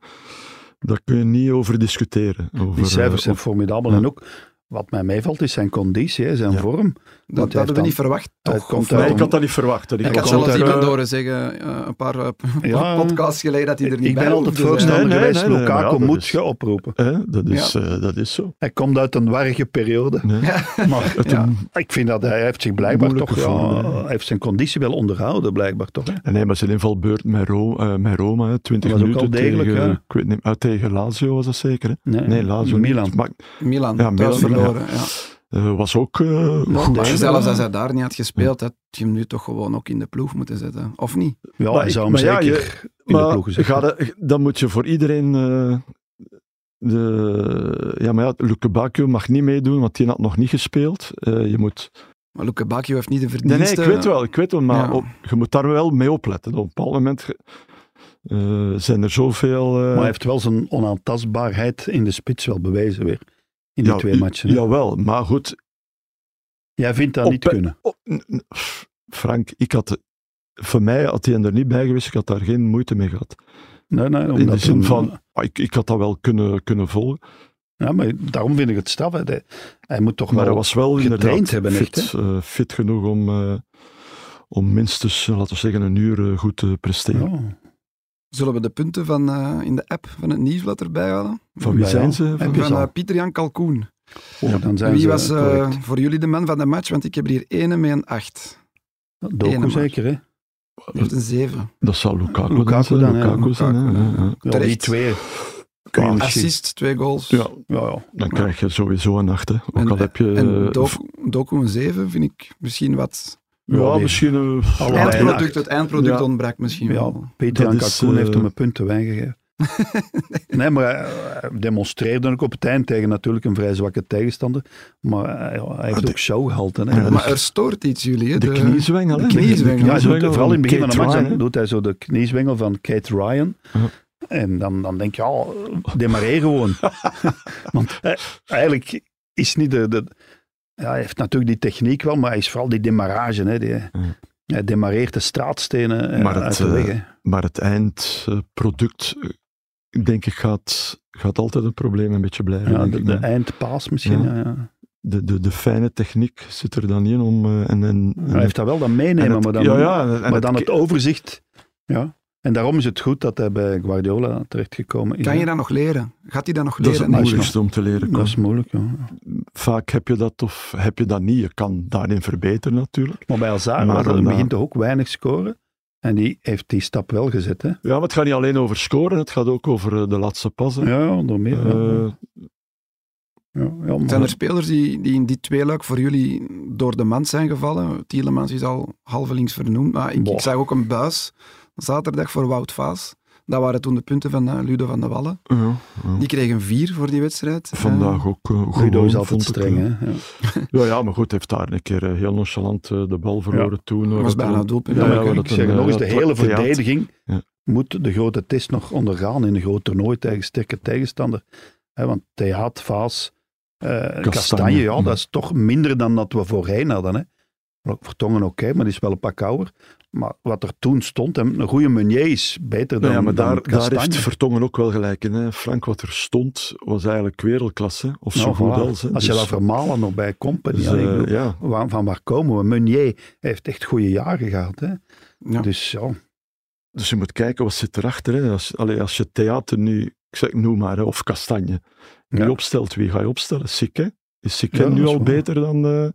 Speaker 1: daar kun je niet over discussiëren. Over,
Speaker 2: Die
Speaker 1: eh,
Speaker 2: cijfers zijn
Speaker 1: of-
Speaker 2: formidabel.
Speaker 1: Ja.
Speaker 2: En ook, wat mij meevalt, is zijn conditie, hè, zijn
Speaker 1: Ja.
Speaker 2: vorm.
Speaker 3: Dat, dat
Speaker 2: hij heeft
Speaker 3: hadden we
Speaker 2: dan-
Speaker 3: niet verwacht,
Speaker 2: hij
Speaker 3: toch?
Speaker 2: komt
Speaker 3: Of
Speaker 2: uit
Speaker 3: wel?
Speaker 1: Nee, ik had dat niet verwacht. hè.
Speaker 2: Ik
Speaker 3: Ik
Speaker 2: had
Speaker 3: had zelfs
Speaker 2: altijd,
Speaker 3: iemand
Speaker 1: eh,
Speaker 3: horen zeggen, eh, een paar eh, *laughs*
Speaker 2: Ja.
Speaker 3: podcasts geleden, dat hij er niet
Speaker 2: Ik
Speaker 3: bij
Speaker 2: ben altijd
Speaker 3: hoefde zijn.
Speaker 2: voorstander
Speaker 1: Nee, nee,
Speaker 2: geweest,
Speaker 1: nee, nee, maar
Speaker 2: Lukaku
Speaker 1: ja, dat
Speaker 2: moet
Speaker 1: is-
Speaker 2: je oproepen.
Speaker 1: hè, dat, is, eh, dat is zo.
Speaker 2: Hij komt uit een warrige periode.
Speaker 1: Nee.
Speaker 2: Maar
Speaker 1: Het-
Speaker 3: Ja.
Speaker 2: ik vind dat hij heeft zich blijkbaar
Speaker 1: Moeilijke
Speaker 2: toch... Ja,
Speaker 1: vorm, hè.
Speaker 2: hij heeft zijn conditie wel onderhouden, blijkbaar toch. hè.
Speaker 1: En nee, maar zijn invalbeurt met, Ro- eh, met Roma, hè, 20
Speaker 2: Dat was ook
Speaker 1: minuten
Speaker 2: al degelijk,
Speaker 1: tegen,
Speaker 2: ja.
Speaker 1: ik weet niet, uit tegen Lazio was dat zeker. Hè? Nee, Lazio niet.
Speaker 2: Milan.
Speaker 1: Maar,
Speaker 3: Milan,
Speaker 1: Ja,
Speaker 3: thuis
Speaker 1: Milan,
Speaker 3: verloren. Ja.
Speaker 1: eh, was ook eh, goed.
Speaker 3: Maar
Speaker 2: degelijk.
Speaker 3: zelfs als hij daar niet had gespeeld, had je hem nu toch gewoon ook in de ploeg moeten zetten. Of niet?
Speaker 2: Ja,
Speaker 1: Maar
Speaker 2: hij
Speaker 1: ik-
Speaker 2: zou hem
Speaker 1: maar ja,
Speaker 2: zeker
Speaker 1: je-
Speaker 2: in de ploeg gezet
Speaker 1: ga
Speaker 2: hebben.
Speaker 1: dat- dan moet je voor iedereen eh, De, ja, maar ja, Luke Bakio mag niet meedoen, want die had nog niet gespeeld. Eh, je moet...
Speaker 3: Maar Luke Bakio heeft niet de
Speaker 1: Nee,
Speaker 3: verdiensten.
Speaker 1: nee, ik weet wel, ik weet wel maar
Speaker 3: Ja.
Speaker 1: op- je moet daar wel mee opletten. Op een bepaald moment ge- eh, zijn er zoveel... eh,
Speaker 2: Maar hij heeft wel zijn onaantastbaarheid in de spits wel bewezen weer. In die
Speaker 1: ja,
Speaker 2: twee
Speaker 1: i-
Speaker 2: matchen. hè?
Speaker 1: Jawel, maar goed,
Speaker 2: Jij vindt dat
Speaker 1: Op-
Speaker 2: niet kunnen.
Speaker 1: Oh, n- n- pff, Frank, ik had, voor mij had hij er niet bij geweest, ik had daar geen moeite mee gehad.
Speaker 2: Nee, nee, omdat
Speaker 1: In de zin
Speaker 2: hem-
Speaker 1: van, ah, ik, ik had dat wel kunnen, kunnen volgen,
Speaker 2: Ja, maar daarom vind ik het straf. hè. Hij, hij moet toch
Speaker 1: maar hij
Speaker 2: wel...
Speaker 1: was wel
Speaker 2: getraind
Speaker 1: inderdaad
Speaker 2: hebben echt,
Speaker 1: fit, eh, fit genoeg om, eh, om minstens, eh, laten we zeggen, een uur eh, goed te presteren.
Speaker 2: Ja.
Speaker 3: Zullen we de punten van, eh, in de app van het nieuwsblad erbij halen?
Speaker 1: Van wie
Speaker 2: Ja,
Speaker 1: zijn ze?
Speaker 2: heb
Speaker 1: Van-
Speaker 2: je
Speaker 3: Van
Speaker 2: al.
Speaker 3: eh, Pieter-Jan Kalkoen.
Speaker 2: Ja, Oh, dan zijn
Speaker 3: Wie
Speaker 2: ze
Speaker 3: was eh,
Speaker 2: correct.
Speaker 3: voor jullie de man van de match? Want ik heb hier ene met een 8. ene
Speaker 2: Doku
Speaker 3: maar.
Speaker 2: zeker, hè?
Speaker 3: Die heeft een 7.
Speaker 1: Dat zou Lukaku,
Speaker 2: Lukaku
Speaker 1: dan zijn.
Speaker 2: dan, hè,
Speaker 1: Lukaku zijn, hè,
Speaker 3: Lukaku,
Speaker 1: ja, ja.
Speaker 2: Ja,
Speaker 3: Terecht.
Speaker 2: die twee. Kun je
Speaker 1: Ja,
Speaker 2: misschien-
Speaker 3: Assist, twee goals.
Speaker 1: Ja,
Speaker 2: Ja, ja.
Speaker 1: dan krijg je sowieso een acht. hè. Ook
Speaker 3: En-
Speaker 1: al heb je...
Speaker 3: En
Speaker 1: eh,
Speaker 3: Doku, Doku een 7 vind ik misschien wat...
Speaker 1: ja,
Speaker 2: die-
Speaker 1: misschien... eh,
Speaker 2: Allebei een
Speaker 3: Eindproduct,
Speaker 2: acht.
Speaker 3: het eindproduct
Speaker 1: Ja.
Speaker 3: ontbrak misschien
Speaker 2: Ja.
Speaker 3: wel.
Speaker 2: Peter
Speaker 1: Dat
Speaker 2: Jan
Speaker 1: is,
Speaker 2: Kalkoen
Speaker 1: eh,
Speaker 2: heeft hem een punt te
Speaker 1: *laughs*
Speaker 2: weinig gegeven. nee, maar hij, hij demonstreerde ook op het eind tegen natuurlijk een vrij zwakke tegenstander. Maar hij, hij heeft ook show gehaald. hè.
Speaker 1: Ah,
Speaker 2: eh,
Speaker 1: Ja, dat
Speaker 3: Maar
Speaker 1: is-
Speaker 3: er stoort iets jullie, hè?
Speaker 1: dus De
Speaker 3: De-
Speaker 1: kniezwengel, hè?
Speaker 3: de kniezwengel.
Speaker 2: Ja, hij doet-
Speaker 1: van
Speaker 2: vooral in het begin van de
Speaker 1: Kate
Speaker 2: match
Speaker 1: Ryan, hè.
Speaker 2: dan doet hij zo de kniezwengel van Kate Ryan.
Speaker 1: Ja.
Speaker 2: En dan, dan denk je, ja,
Speaker 1: *laughs*
Speaker 2: demarreer gewoon. Want eh, eigenlijk is niet de, de... Ja, hij heeft natuurlijk die techniek wel, maar hij is vooral die demarrage. Hè, die, Hij demareert de straatstenen eh,
Speaker 1: Maar het,
Speaker 2: uit de weg.
Speaker 1: eh,
Speaker 2: hè.
Speaker 1: Maar het eindproduct, eh, denk ik, gaat, gaat altijd een probleem een beetje blijven.
Speaker 2: ja,
Speaker 1: denk
Speaker 2: de,
Speaker 1: ik,
Speaker 2: de
Speaker 1: maar
Speaker 2: eindpaas misschien.
Speaker 1: Ja.
Speaker 2: Ja. Ja,
Speaker 1: de, de, de fijne techniek zit er dan niet in om... eh, en, en,
Speaker 2: Hij heeft dat wel dan meenemen, maar dan,
Speaker 1: ja, ja, en, en
Speaker 2: maar dan het overzicht. Ja. En daarom is het goed dat hij bij Guardiola terechtgekomen is.
Speaker 3: Kan je
Speaker 2: dat?
Speaker 3: dat nog leren? Gaat hij dat nog
Speaker 1: dat is
Speaker 3: leren?
Speaker 1: het
Speaker 2: nee,
Speaker 1: moeilijkste om te leren.
Speaker 2: Dat
Speaker 1: Kom,
Speaker 2: is moeilijk, ja.
Speaker 1: Vaak heb je dat of heb je dat niet. Je kan daarin verbeteren natuurlijk.
Speaker 2: Maar bij Hazard
Speaker 1: Maar
Speaker 2: was het
Speaker 1: dan-
Speaker 2: begint toch ook weinig scoren. En die heeft die stap wel gezet, hè?
Speaker 1: Ja, maar het gaat niet alleen over scoren, het gaat ook over eh, de laatste passen.
Speaker 2: Ja, ja, door meer. ja.
Speaker 1: Eh,
Speaker 2: ja, ja, maar-
Speaker 3: Zijn er spelers die, die in dit tweeluik voor jullie door de mand zijn gevallen? Tielemans is al halvelings vernoemd, maar ik, ik
Speaker 2: Boah.
Speaker 3: zag ook een buis zaterdag voor Wout Vaas. Dat waren toen de punten van eh, Ludo van de Wallen.
Speaker 1: ja, ja.
Speaker 3: Die kreeg een 4 voor die wedstrijd. Eh,
Speaker 1: Vandaag ook eh,
Speaker 2: Guido
Speaker 1: gewoon,
Speaker 2: is altijd
Speaker 1: vond ik,
Speaker 2: streng,
Speaker 1: eh.
Speaker 2: hè? Ja.
Speaker 1: Ja, ja, maar goed, heeft daar een keer eh, heel nonchalant eh, de bal verloren toen.
Speaker 3: Eh, was bijna een eh, doelpunt.
Speaker 2: Ja,
Speaker 3: Ja,
Speaker 2: maar
Speaker 3: ja,
Speaker 2: ik-
Speaker 3: dat
Speaker 2: ik zeg nog eens, de hele
Speaker 1: verdediging.
Speaker 2: verdediging
Speaker 1: Ja.
Speaker 2: moet de grote test nog ondergaan in een groot toernooi tegen sterke tegenstander. Hè, want Theaat, Vaas, eh, Kastanje, ja,
Speaker 1: Mm.
Speaker 2: dat is toch minder dan dat we voorheen hadden. Hè. Vertongen oké, maar die is wel een pak ouder. Maar wat er toen stond, en een goede Meunier is beter dan,
Speaker 1: ja, maar
Speaker 2: dan
Speaker 1: daar, daar
Speaker 2: Kastanje.
Speaker 1: heeft Vertongen ook wel gelijk in. Hè. Frank, wat er stond, was eigenlijk wereldklasse. hè. Of zo
Speaker 2: Nou,
Speaker 1: goed
Speaker 2: voilà.
Speaker 1: als. Hè.
Speaker 2: Als je
Speaker 1: Dus-
Speaker 2: dat vermalen nog bij Company,
Speaker 1: dus,
Speaker 2: ja, ik
Speaker 1: eh,
Speaker 2: bedoel,
Speaker 1: ja.
Speaker 2: waar- van waar komen we? Meunier heeft echt goede jaren gehad. Hè.
Speaker 3: ja.
Speaker 2: Dus ja,
Speaker 1: dus je moet kijken, wat zit erachter? Hè. Als, allee, als je theater nu, ik zeg noem maar, hè, of Kastanje, wie
Speaker 2: Ja.
Speaker 1: opstelt, wie ga je opstellen? Sikke? Is Sikke
Speaker 2: Ja, dat
Speaker 1: nu
Speaker 2: is
Speaker 1: al
Speaker 2: waar.
Speaker 1: beter dan, eh,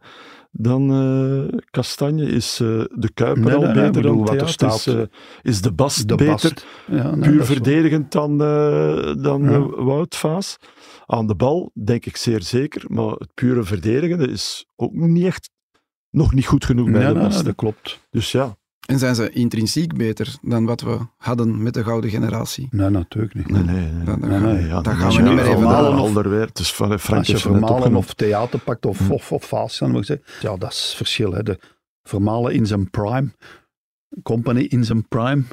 Speaker 1: dan eh, Kastanje? Is eh, de Kuiper
Speaker 2: Nee,
Speaker 1: al
Speaker 2: nee, nee, ik
Speaker 1: beter
Speaker 2: bedoel,
Speaker 1: dan
Speaker 2: wat er
Speaker 1: Theater? Is,
Speaker 2: staat.
Speaker 1: eh, is de Bast
Speaker 2: de
Speaker 1: beter?
Speaker 2: Bast. Ja, nee, dat
Speaker 1: puur
Speaker 2: is waar.
Speaker 1: verdedigend dan, eh, dan
Speaker 2: Ja.
Speaker 1: eh, Wout Vaas. Aan de bal denk ik zeer zeker, maar het pure verdedigende is ook niet echt nog niet goed genoeg bij
Speaker 2: Nee,
Speaker 1: de
Speaker 2: nee, nee,
Speaker 1: beste.
Speaker 2: dat klopt.
Speaker 1: Dus ja,
Speaker 3: En zijn ze intrinsiek beter dan wat we hadden met de gouden generatie?
Speaker 2: Nee, natuurlijk niet.
Speaker 1: nee, nee, nee.
Speaker 3: Dan- dan
Speaker 2: Nee,
Speaker 3: gaan we-
Speaker 2: nee,
Speaker 1: ja,
Speaker 3: daar gaan
Speaker 1: is
Speaker 3: we
Speaker 1: weer
Speaker 3: niet meer even
Speaker 1: Vermalen
Speaker 2: naar.
Speaker 1: of- alderweer. Het is van eh, Frank
Speaker 2: Als je
Speaker 1: heeft het net
Speaker 2: vermalen
Speaker 1: opgenoemd.
Speaker 2: of theater pakt of,
Speaker 1: Hm.
Speaker 2: of, of vast, dan moet ik zeggen. Ja, dat is het verschil. Hè. De vermalen in zijn prime, company in zijn prime,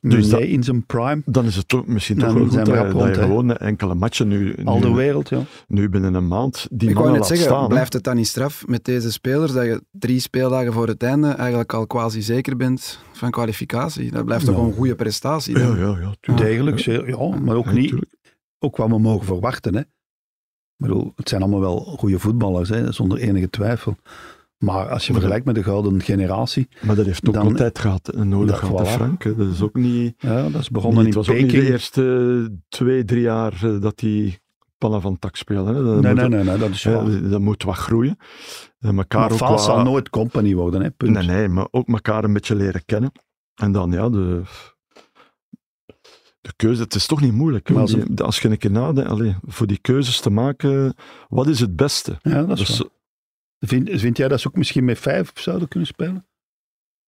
Speaker 2: dus
Speaker 1: dat-
Speaker 2: in zijn prime,
Speaker 1: Dan is het toch misschien
Speaker 2: Dan
Speaker 1: toch wel goed
Speaker 2: zijn
Speaker 1: dat,
Speaker 2: we
Speaker 1: je-
Speaker 2: rap
Speaker 1: dat
Speaker 2: rond,
Speaker 1: je
Speaker 2: hè.
Speaker 1: gewoon enkele matchen nu,
Speaker 2: al de
Speaker 1: nu,
Speaker 2: wereld. Ja.
Speaker 1: nu binnen een maand die
Speaker 3: Ik wou
Speaker 1: mannen
Speaker 3: net
Speaker 1: laat
Speaker 3: zeggen,
Speaker 1: staan. hè.
Speaker 3: blijft het dan niet straf met deze spelers dat je drie speeldagen voor het einde eigenlijk al quasi zeker bent van kwalificatie? Dat blijft toch
Speaker 2: Nou.
Speaker 3: een goede prestatie? dan?
Speaker 1: Ja, ja, ja. tuurlijk.
Speaker 2: Degelijk, zeer- ja, maar ook
Speaker 1: Ja,
Speaker 2: niet,
Speaker 1: tuurlijk.
Speaker 2: ook wat we mogen verwachten. Hè. Ik bedoel, het zijn allemaal wel goede voetballers, hè, zonder enige twijfel. Maar als je
Speaker 1: Maar dat-
Speaker 2: vergelijkt met de gouden generatie,
Speaker 1: Maar dat heeft ook
Speaker 2: Dan-
Speaker 1: altijd gehad, eh, nodig
Speaker 2: Dat-
Speaker 1: gehad, hè,
Speaker 2: voilà.
Speaker 1: Frank. hè. Dat is ook niet...
Speaker 2: ja, dat is begonnen
Speaker 1: Nee,
Speaker 2: in
Speaker 1: het was ook niet de
Speaker 2: Peking.
Speaker 1: eerste twee, drie jaar eh, dat die pannen van tak spelen. Hè. Dat,
Speaker 2: Nee,
Speaker 1: eh, moet,
Speaker 2: nee, nee, nee, dat is
Speaker 1: hè,
Speaker 2: waar.
Speaker 1: dat moet wat groeien. Eh, En elkaar
Speaker 2: Maar
Speaker 1: ook
Speaker 2: Faas
Speaker 1: wat-
Speaker 2: zal nooit company worden, hè, punt.
Speaker 1: Nee, nee, maar ook elkaar een beetje leren kennen. En dan, ja, de, de keuze, het is toch niet moeilijk. hè,
Speaker 2: Maar
Speaker 1: want
Speaker 2: ze-
Speaker 1: die- als je een keer nadenkt, allee, voor die keuzes te maken, wat is het beste?
Speaker 2: Ja, dat is
Speaker 1: Dus,
Speaker 2: waar. Vind, vind jij dat ze ook misschien met vijf zouden kunnen spelen?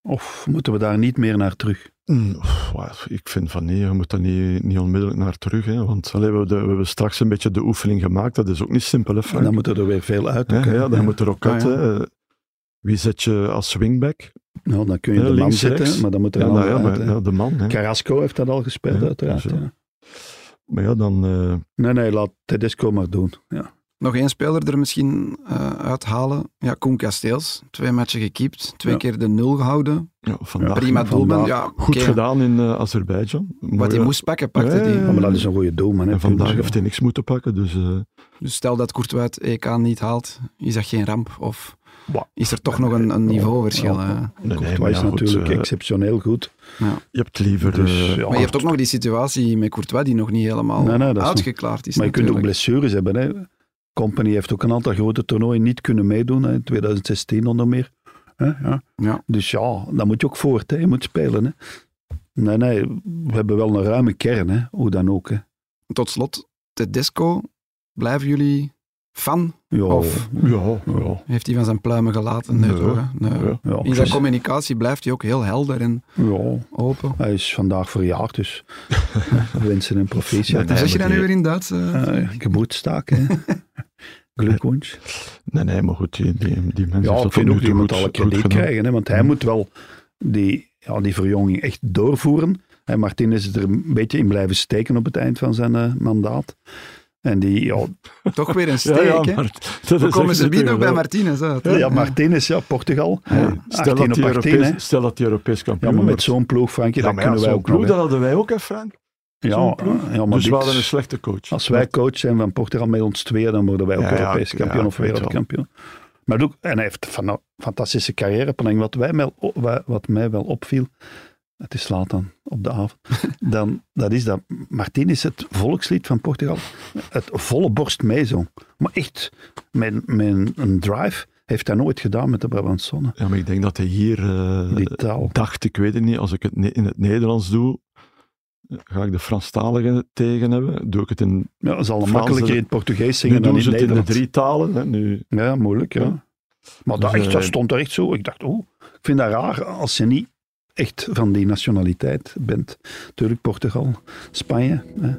Speaker 2: Of moeten we daar niet meer naar terug?
Speaker 1: Mm, pff, wel, Ik vind van nee, je moet daar niet, niet onmiddellijk naar terug. Hè, want allee, we, hebben de- we hebben straks een beetje de oefening gemaakt. Dat is ook niet simpel, hè,
Speaker 2: En
Speaker 1: Frank?
Speaker 2: dan moeten er weer veel uit.
Speaker 1: Ja,
Speaker 2: oké.
Speaker 1: ja, dan moet er ook
Speaker 3: Ah,
Speaker 1: uit.
Speaker 3: ja.
Speaker 1: hè. Wie zet je als wingback?
Speaker 2: Nou, dan kun je
Speaker 1: Ja,
Speaker 2: de man
Speaker 1: links,
Speaker 2: zitten,
Speaker 1: rechts.
Speaker 2: maar dan moet er
Speaker 1: Ja,
Speaker 2: een
Speaker 1: nou
Speaker 2: ander
Speaker 1: ja,
Speaker 2: uit,
Speaker 1: maar,
Speaker 2: hè.
Speaker 1: ja, de man. Hè.
Speaker 2: Carrasco heeft dat al gespeeld,
Speaker 1: Ja,
Speaker 2: uiteraard.
Speaker 1: zo.
Speaker 2: ja.
Speaker 1: Maar ja, dan... eh,
Speaker 2: Nee, nee, laat Tedesco maar doen. Ja.
Speaker 3: Nog één speler er misschien eh, uithalen. Ja, Koen Kasteels. Twee matchen gekiept. Twee
Speaker 2: Ja.
Speaker 3: keer de nul gehouden.
Speaker 1: ja, vandaag
Speaker 3: Prima
Speaker 2: vandaag.
Speaker 3: doelman. Ja,
Speaker 1: goed
Speaker 3: oké.
Speaker 1: gedaan in eh, Azerbeidzjan.
Speaker 3: Wat hij
Speaker 1: Mooie-
Speaker 3: moest pakken, pakte
Speaker 1: Ja,
Speaker 3: hij.
Speaker 1: ja, ja.
Speaker 2: Ja, maar dat is een goede doelman. Hè,
Speaker 1: En vandaag
Speaker 2: Punters,
Speaker 1: heeft hij niks moeten pakken, dus... eh,
Speaker 3: Dus stel dat Courtois EK niet haalt, is dat geen ramp? Of
Speaker 1: Bah.
Speaker 3: is er toch nog een, een niveauverschil?
Speaker 2: Ja.
Speaker 3: hè?
Speaker 1: nee,
Speaker 2: Courtois
Speaker 1: maar
Speaker 2: is
Speaker 1: ja, goed,
Speaker 2: natuurlijk
Speaker 1: eh,
Speaker 2: exceptioneel goed.
Speaker 1: je hebt liever...
Speaker 2: Dus,
Speaker 1: eh,
Speaker 2: ja.
Speaker 3: Maar je hebt ook nog die situatie met Courtois die nog niet helemaal
Speaker 2: Nee, nee, dat is
Speaker 3: uitgeklaard is.
Speaker 2: Maar je kunt ook
Speaker 3: natuurlijk.
Speaker 2: blessures hebben. Hè. Company heeft ook een aantal grote toernooien niet kunnen meedoen. Hè, in 2016 onder meer. Hè, ja.
Speaker 3: Ja.
Speaker 2: Dus ja, dan moet je ook voort. Hè. Je moet spelen. Hè. Nee, nee, we hebben wel een ruime kern. Hè. Hoe dan ook. Hè.
Speaker 3: Tot slot, Tedesco, blijven jullie fan?
Speaker 2: Ja,
Speaker 3: Of-
Speaker 1: Ja, ja.
Speaker 3: Heeft hij van zijn pluimen gelaten? Nee,
Speaker 1: Nee,
Speaker 3: toch? hè? Nee.
Speaker 1: ja.
Speaker 2: ja,
Speaker 3: In zijn communicatie blijft hij ook heel helder en
Speaker 2: ja,
Speaker 3: open.
Speaker 2: hij is vandaag verjaard,
Speaker 1: *laughs*
Speaker 2: dus we wensen hem proficiat.
Speaker 1: Nee,
Speaker 3: zeg je
Speaker 1: maar
Speaker 3: dat nu
Speaker 1: die-
Speaker 3: weer in Duits? eh?
Speaker 1: Ah,
Speaker 2: Eh, Geburtstag,
Speaker 1: *laughs*
Speaker 2: hè. Glückwunsch.
Speaker 1: Nee, nee, maar goed, die, die, die mensen
Speaker 2: Ja,
Speaker 1: heeft
Speaker 2: ik
Speaker 1: dat tot
Speaker 2: vind
Speaker 1: nu
Speaker 2: ook,
Speaker 1: toe
Speaker 2: die moet
Speaker 1: goed,
Speaker 2: alle
Speaker 1: goed
Speaker 2: krediet
Speaker 1: gedaan.
Speaker 2: krijgen. Hè, want hij
Speaker 1: Hmm.
Speaker 2: moet wel die, ja, die verjonging echt doorvoeren. En Martin is er een beetje in blijven steken op het eind van zijn eh, mandaat. En die, ja,
Speaker 3: Toch weer een steek,
Speaker 1: *laughs* Ja, ja,
Speaker 3: hè?
Speaker 1: maar dat
Speaker 3: We
Speaker 1: is
Speaker 3: komen
Speaker 1: echt
Speaker 3: ze
Speaker 1: niet
Speaker 3: bieden nog bij
Speaker 1: tegelijk.
Speaker 3: Martinez uit. hè?
Speaker 2: ja, Martin is ja, Portugal.
Speaker 1: Ja.
Speaker 2: 18
Speaker 1: Stel, dat
Speaker 2: op
Speaker 1: die
Speaker 2: 18, hè.
Speaker 1: Europees, stel dat die Europees kampioen
Speaker 2: Ja, maar met
Speaker 1: wordt.
Speaker 2: zo'n ploeg, Frankie,
Speaker 1: Ja,
Speaker 2: dat
Speaker 1: maar ja,
Speaker 2: kunnen wij
Speaker 1: zo'n
Speaker 2: ook nog.
Speaker 1: ploeg,
Speaker 2: hè.
Speaker 1: dat hadden wij ook, hè, Frank?
Speaker 2: Ja,
Speaker 1: zo'n ploeg.
Speaker 2: ja, maar
Speaker 1: dus we
Speaker 2: dit-
Speaker 1: hadden een slechte coach.
Speaker 2: Als wij coach zijn van Portugal met ons tweeën, dan worden wij ook
Speaker 1: Ja, ja,
Speaker 2: Europees
Speaker 1: ja,
Speaker 2: kampioen
Speaker 1: ik
Speaker 2: of
Speaker 1: weet wel.
Speaker 2: wereldkampioen. Maar ook, en hij heeft van een fantastische carrière. Maar wat, wij wel, wa- wat mij wel opviel, het is laat dan op de
Speaker 1: *laughs*
Speaker 2: avond, dan, dat is dat Martin is het volkslied van Portugal het volle borst meezong. Maar echt, mijn, mijn een drive heeft hij nooit gedaan met de Brabantsonne.
Speaker 1: Ja, maar ik denk dat hij hier eh,
Speaker 2: Die taal.
Speaker 1: dacht, ik weet het niet, als ik het ne- in het Nederlands doe, eh, ga ik de Franstaligen tegen hebben. Doe ik het in,
Speaker 2: Ja, dat is al
Speaker 1: Fransen-
Speaker 2: makkelijker in het Portugees
Speaker 1: nu
Speaker 2: zingen dan
Speaker 1: doen
Speaker 2: in
Speaker 1: ze
Speaker 2: het
Speaker 1: het in de
Speaker 2: Nederlands.
Speaker 1: drie talen. Hè, nu.
Speaker 2: Ja, moeilijk, ja.
Speaker 1: Ja.
Speaker 2: Maar dat,
Speaker 1: Dus,
Speaker 2: echt, dat
Speaker 1: eh,
Speaker 2: stond er echt zo. Ik dacht, oh, ik vind dat raar als je niet echt van die nationaliteit bent. Tuurlijk Portugal, Spanje. Hè.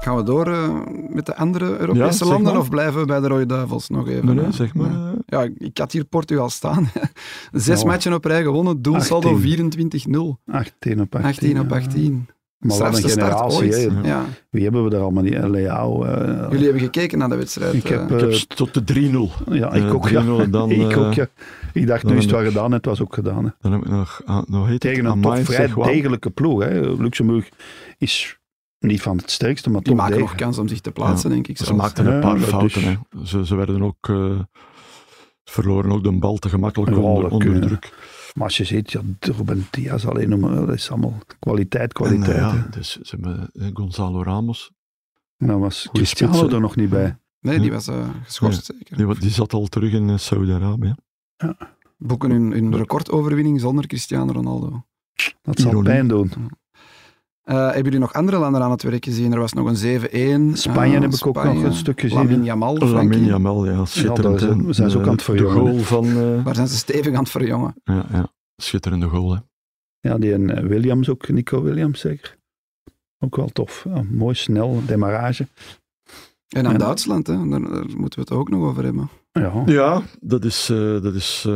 Speaker 3: Gaan we door eh, met de andere Europese
Speaker 1: zeg
Speaker 3: landen
Speaker 1: maar.
Speaker 3: of blijven we bij de Rode Duivels nog even?
Speaker 1: Nee, nee,
Speaker 3: hè?
Speaker 1: zeg maar.
Speaker 3: Ja.
Speaker 1: eh,
Speaker 3: Ja, ik- ik had hier Portugal staan. Zes
Speaker 2: Ja.
Speaker 3: matchen op rij gewonnen, doelsaldo
Speaker 2: 18.
Speaker 3: 24-0.
Speaker 2: 18 op 18.
Speaker 3: 18 op
Speaker 2: ja.
Speaker 3: 18.
Speaker 2: Maar wat
Speaker 3: Strafste
Speaker 2: een
Speaker 3: start
Speaker 2: generatie.
Speaker 3: ooit.
Speaker 2: hè.
Speaker 3: Ja.
Speaker 2: Wie hebben we daar allemaal? Die Leao. eh,
Speaker 3: Jullie hebben gekeken naar de wedstrijd.
Speaker 2: ik
Speaker 3: eh.
Speaker 2: heb...
Speaker 1: ik
Speaker 2: eh,
Speaker 1: heb s- tot de 3-0.
Speaker 2: ja, ik
Speaker 1: eh,
Speaker 2: ook, ja.
Speaker 1: 3-0 en dan,
Speaker 2: *laughs* ik ook,
Speaker 1: eh,
Speaker 2: ja. Ik dacht, nu
Speaker 1: dan
Speaker 2: is het
Speaker 1: heb
Speaker 2: wel gedaan. Het was ook gedaan. Hè.
Speaker 1: Dan heb ik nog, ah, nog heet
Speaker 2: Tegen
Speaker 1: het,
Speaker 2: een
Speaker 1: Amai,
Speaker 2: toch vrij
Speaker 1: zeg, wel.
Speaker 2: degelijke ploeg. Hè. Luxemburg is niet van het sterkste, maar
Speaker 3: die
Speaker 2: toch
Speaker 3: maken
Speaker 2: degelijk.
Speaker 3: nog kans om zich te plaatsen, denk ik.
Speaker 1: Ze
Speaker 3: zelfs.
Speaker 1: maakten
Speaker 2: Ja,
Speaker 1: een paar
Speaker 2: dat is-
Speaker 1: fouten.
Speaker 2: Dus-
Speaker 1: Hè. Ze, ze werden ook, eh, verloren ook de bal te gemakkelijk
Speaker 2: Ja,
Speaker 1: onder,
Speaker 2: dat
Speaker 1: onder
Speaker 2: kunnen.
Speaker 1: druk.
Speaker 2: Maar als je ziet, ja, Ruben Diaz alleen noemen, dat is allemaal kwaliteit,
Speaker 1: En, eh,
Speaker 2: kwaliteit. hè.
Speaker 1: ja, dus, ze hebben eh, Gonzalo Ramos,
Speaker 2: En dan Nou, was
Speaker 1: Goeie
Speaker 2: Cristiano
Speaker 1: spits, hè.
Speaker 2: er nog niet bij.
Speaker 3: Nee, die was eh, geschorst zeker.
Speaker 1: die, wa- die zat al terug in eh, Saudi-Arabië.
Speaker 3: Boeken hun, hun recordoverwinning zonder Cristiano Ronaldo.
Speaker 2: Dat zal
Speaker 1: Ironie.
Speaker 2: pijn doen.
Speaker 3: Eh, hebben jullie nog andere landen aan het werk gezien? Er was nog een 7-1.
Speaker 2: Spanje
Speaker 3: eh,
Speaker 2: heb ik ook nog
Speaker 3: Spanje.
Speaker 2: een stuk gezien,
Speaker 3: Lamin
Speaker 2: hè.
Speaker 3: Jamal,
Speaker 1: Lamine
Speaker 3: Frankie.
Speaker 1: Jamal, ja, schitterend.
Speaker 2: daar zijn-
Speaker 1: hè. Eh,
Speaker 2: zijn ze ook aan het
Speaker 1: De-
Speaker 2: verjongen,
Speaker 1: De goal van... eh,
Speaker 3: Daar zijn ze stevig aan het verjongen.
Speaker 1: ja, ja, schitterende goal, hè.
Speaker 2: Ja, die en eh, Williams ook, Nico Williams zeker. Ook wel tof. Ja, mooi, snel, demarrage.
Speaker 3: En aan
Speaker 2: Ja.
Speaker 3: Duitsland, hè. Daar, daar moeten we het ook nog over hebben.
Speaker 2: Ja,
Speaker 1: Ja, dat is... eh, dat is eh,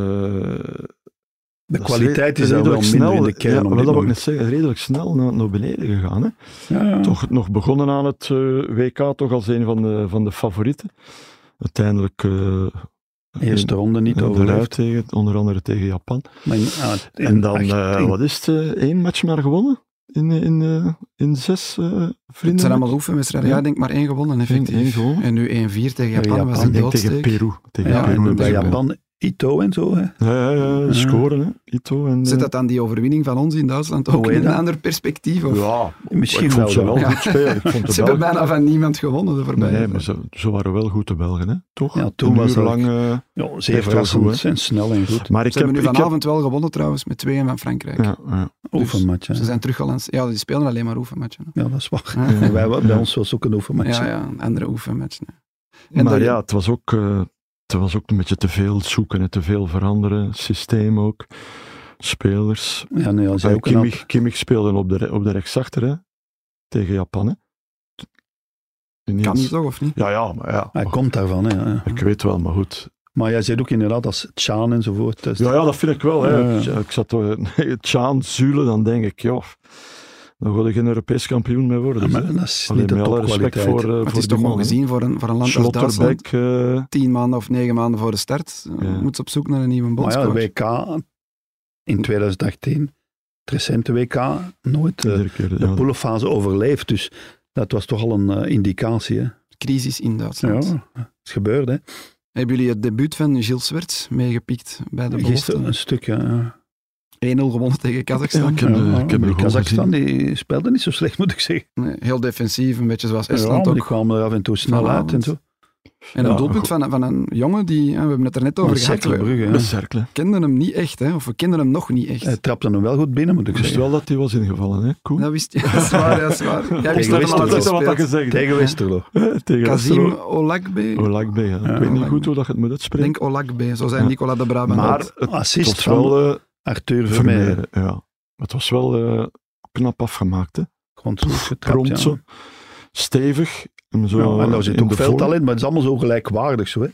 Speaker 2: de
Speaker 1: Dat
Speaker 2: kwaliteit
Speaker 1: re-
Speaker 2: is al wel
Speaker 1: redelijk
Speaker 2: minder in de kern.
Speaker 1: Ja,
Speaker 2: op
Speaker 1: wel,
Speaker 2: dit
Speaker 1: dat wil ik
Speaker 2: moment.
Speaker 1: net zeggen, redelijk snel naar, naar beneden gegaan. Hè?
Speaker 2: ja, ja.
Speaker 1: Toch nog begonnen aan het eh, WK, toch als een van de, van de favorieten. Uiteindelijk eh
Speaker 2: Eerste ronde niet
Speaker 1: in-
Speaker 2: overleefd.
Speaker 1: eruit tegen, onder andere tegen Japan.
Speaker 2: Maar in- ah, in
Speaker 1: en dan,
Speaker 2: 18
Speaker 1: eh, wat is het, eh, één match maar gewonnen? In, in, eh, in zes eh,
Speaker 3: Het
Speaker 1: vrienden?
Speaker 3: zijn allemaal oefenwedstrijden. Ja, ik denk maar één gewonnen, effectief.
Speaker 1: Eén- één gewonnen.
Speaker 3: En nu 1-4 tegen Japan,
Speaker 2: Japan.
Speaker 3: was
Speaker 1: Ik
Speaker 3: een
Speaker 1: denk Ah, tegen
Speaker 3: doodsteek.
Speaker 1: Peru. Tegen
Speaker 2: ja,
Speaker 1: Peru
Speaker 2: en
Speaker 1: hebben
Speaker 2: bij
Speaker 1: ze gewonnen.
Speaker 2: Japan, Ito en zo. Hè.
Speaker 1: Ja, ja, ja, scoren, hè. Ito en...
Speaker 3: Zit
Speaker 1: eh,
Speaker 3: dat dan die overwinning van ons in Duitsland ook
Speaker 2: Hoe
Speaker 3: in
Speaker 2: heet
Speaker 3: een
Speaker 2: dat?
Speaker 3: ander perspectief? Of?
Speaker 1: eh, ja,
Speaker 2: Misschien
Speaker 1: ik vond ze
Speaker 2: wel.
Speaker 1: wel
Speaker 2: Ja.
Speaker 1: goed spelen. Ik vond de
Speaker 3: Ze
Speaker 1: Belgen-
Speaker 3: hebben bijna van niemand gewonnen de voorbije.
Speaker 1: Nee, maar
Speaker 3: tijd.
Speaker 1: ze, ze waren wel goed de Belgen, hè? toch?
Speaker 2: Ja, toen
Speaker 1: Een
Speaker 2: was
Speaker 1: uur
Speaker 2: dat-
Speaker 1: lang. eh,
Speaker 2: Ja,
Speaker 1: wel
Speaker 2: zeer
Speaker 1: goed,
Speaker 2: verrassend
Speaker 1: hè. Dus
Speaker 2: en snel en goed.
Speaker 1: maar ik
Speaker 3: Ze
Speaker 1: heb.
Speaker 3: hebben nu
Speaker 1: ik heb-
Speaker 3: vanavond wel gewonnen trouwens, met 2 van Frankrijk.
Speaker 1: ja, ja.
Speaker 2: Oefenmatch. hè.
Speaker 3: Ze zijn teruggelanceerd. Ja, die spelen alleen maar oefenmatchen. hè.
Speaker 2: Ja, dat is waar.
Speaker 3: Ja.
Speaker 2: En wij, bij ons was ook een oefenmatch.
Speaker 3: Ja,
Speaker 2: hè.
Speaker 3: ja, een andere oefenmatchen. hè. En
Speaker 1: Maar
Speaker 3: dan-
Speaker 1: ja, het was ook. eh, Het was ook een beetje te veel zoeken en te veel veranderen. Systeem ook. Spelers.
Speaker 2: Ja, nee, als
Speaker 1: Eh,
Speaker 2: hij ook knap.
Speaker 1: Kimmich, Kimmich speelde op de, re- op de rechtsachter hè? tegen Japan. Hè? Ineens-
Speaker 3: Kan niet toch, of niet?
Speaker 1: Ja, ja, maar ja.
Speaker 2: Hij komt daarvan, hè, ja.
Speaker 1: Ik weet wel, maar goed.
Speaker 2: Maar jij zegt ook inderdaad als Tjaan enzovoort. Dus
Speaker 1: Ja, ja dat vind ik wel. Hè.
Speaker 2: Ja, ja.
Speaker 1: Ik- Ik zat eh, *laughs* nee, Tjaan, Zule, dan denk ik, joh, dan wil ik geen Europees kampioen mee worden.
Speaker 2: maar
Speaker 1: hè.
Speaker 2: dat is
Speaker 1: Allee,
Speaker 2: niet de
Speaker 1: met alle respect
Speaker 2: topkwaliteit.
Speaker 1: voor, eh,
Speaker 3: Maar
Speaker 1: voor
Speaker 3: het is
Speaker 1: die
Speaker 3: toch
Speaker 1: man, hè.
Speaker 3: ongezien voor een, voor een land als Duitsland.
Speaker 1: Slotterbeck, eh,
Speaker 3: Tien maanden of negen maanden voor de start eh,
Speaker 1: Ja.
Speaker 3: moet ze op zoek naar een
Speaker 1: eh,
Speaker 3: nieuwe
Speaker 2: Maar ja, de
Speaker 3: bondscoach.
Speaker 2: WK in 2018, het recente WK, nooit eh,
Speaker 1: iedere keer,
Speaker 2: de
Speaker 1: ja.
Speaker 2: poelenfase overleefd. Dus dat was toch al een eh, indicatie. Hè?
Speaker 3: Crisis in Duitsland.
Speaker 2: Ja, het is gebeurd. Hè?
Speaker 3: Hebben jullie het debuut van Gilles Swerts meegepikt bij de
Speaker 2: Gisteren
Speaker 3: belofte? 1-0
Speaker 2: een stuk. Ja, ja.
Speaker 3: gewonnen tegen
Speaker 1: Ja,
Speaker 3: Kazachstan.
Speaker 1: ik heb de,
Speaker 2: Ja,
Speaker 1: ik heb
Speaker 2: maar
Speaker 1: de
Speaker 2: die
Speaker 1: goal
Speaker 2: Kazachstan
Speaker 1: gezien.
Speaker 2: die speelde niet zo slecht, *laughs* moet ik zeggen.
Speaker 3: Nee, Heel defensief, een beetje zoals
Speaker 2: Ja, maar
Speaker 3: Estland
Speaker 2: die
Speaker 3: ook.
Speaker 2: kwamen er af en toe snel
Speaker 3: Vanavond.
Speaker 2: uit. En zo.
Speaker 3: En een
Speaker 1: Ja,
Speaker 3: doelpunt
Speaker 1: goed.
Speaker 3: van, van een jongen die, eh, we hebben het er net
Speaker 2: Van
Speaker 3: over gehad,
Speaker 2: Cercle
Speaker 3: we
Speaker 2: Brugge, ja.
Speaker 1: Met Cercle.
Speaker 3: kenden hem niet echt, hè, of we kenden hem nog niet echt.
Speaker 2: Hij trapte hem wel goed binnen, moet ik
Speaker 1: Ik wist
Speaker 2: zeggen.
Speaker 1: wel dat hij was ingevallen, hè? Koen?
Speaker 3: Dat wist je, *laughs* dat is waar, dat is waar. Jij wist
Speaker 2: Tegen
Speaker 3: dat hem
Speaker 2: Westerlo.
Speaker 3: al had
Speaker 1: is wat dat
Speaker 3: gespeeld.
Speaker 1: gezegd.
Speaker 2: Tegen Westerlo.
Speaker 1: hè, *laughs* Tegen
Speaker 3: Kazim
Speaker 1: Westerlo.
Speaker 3: Olakbe,
Speaker 1: Olakbe, ja. Ik weet niet
Speaker 3: Olakbe.
Speaker 1: goed hoe dat je het moet
Speaker 3: ik
Speaker 1: uitspreken.
Speaker 3: denk Olakbe, zo zijn
Speaker 1: Ja.
Speaker 3: Nicolas de Brabant.
Speaker 1: Maar
Speaker 3: ook.
Speaker 1: het
Speaker 2: Assist
Speaker 1: was wel eh,
Speaker 2: van Arthur Vermeer.
Speaker 1: Vermeer. Ja. Maar Het was wel eh, knap afgemaakt, hè?
Speaker 2: Gewoon zo getrapt,
Speaker 1: Prompt
Speaker 2: ja.
Speaker 1: zo. Stevig. en Zo eh,
Speaker 2: Ja, en daar zit
Speaker 1: in
Speaker 2: ook
Speaker 1: de
Speaker 2: veel
Speaker 1: vorm. Mm.
Speaker 2: talent, maar het is allemaal zo gelijkwaardig. Zo, hè.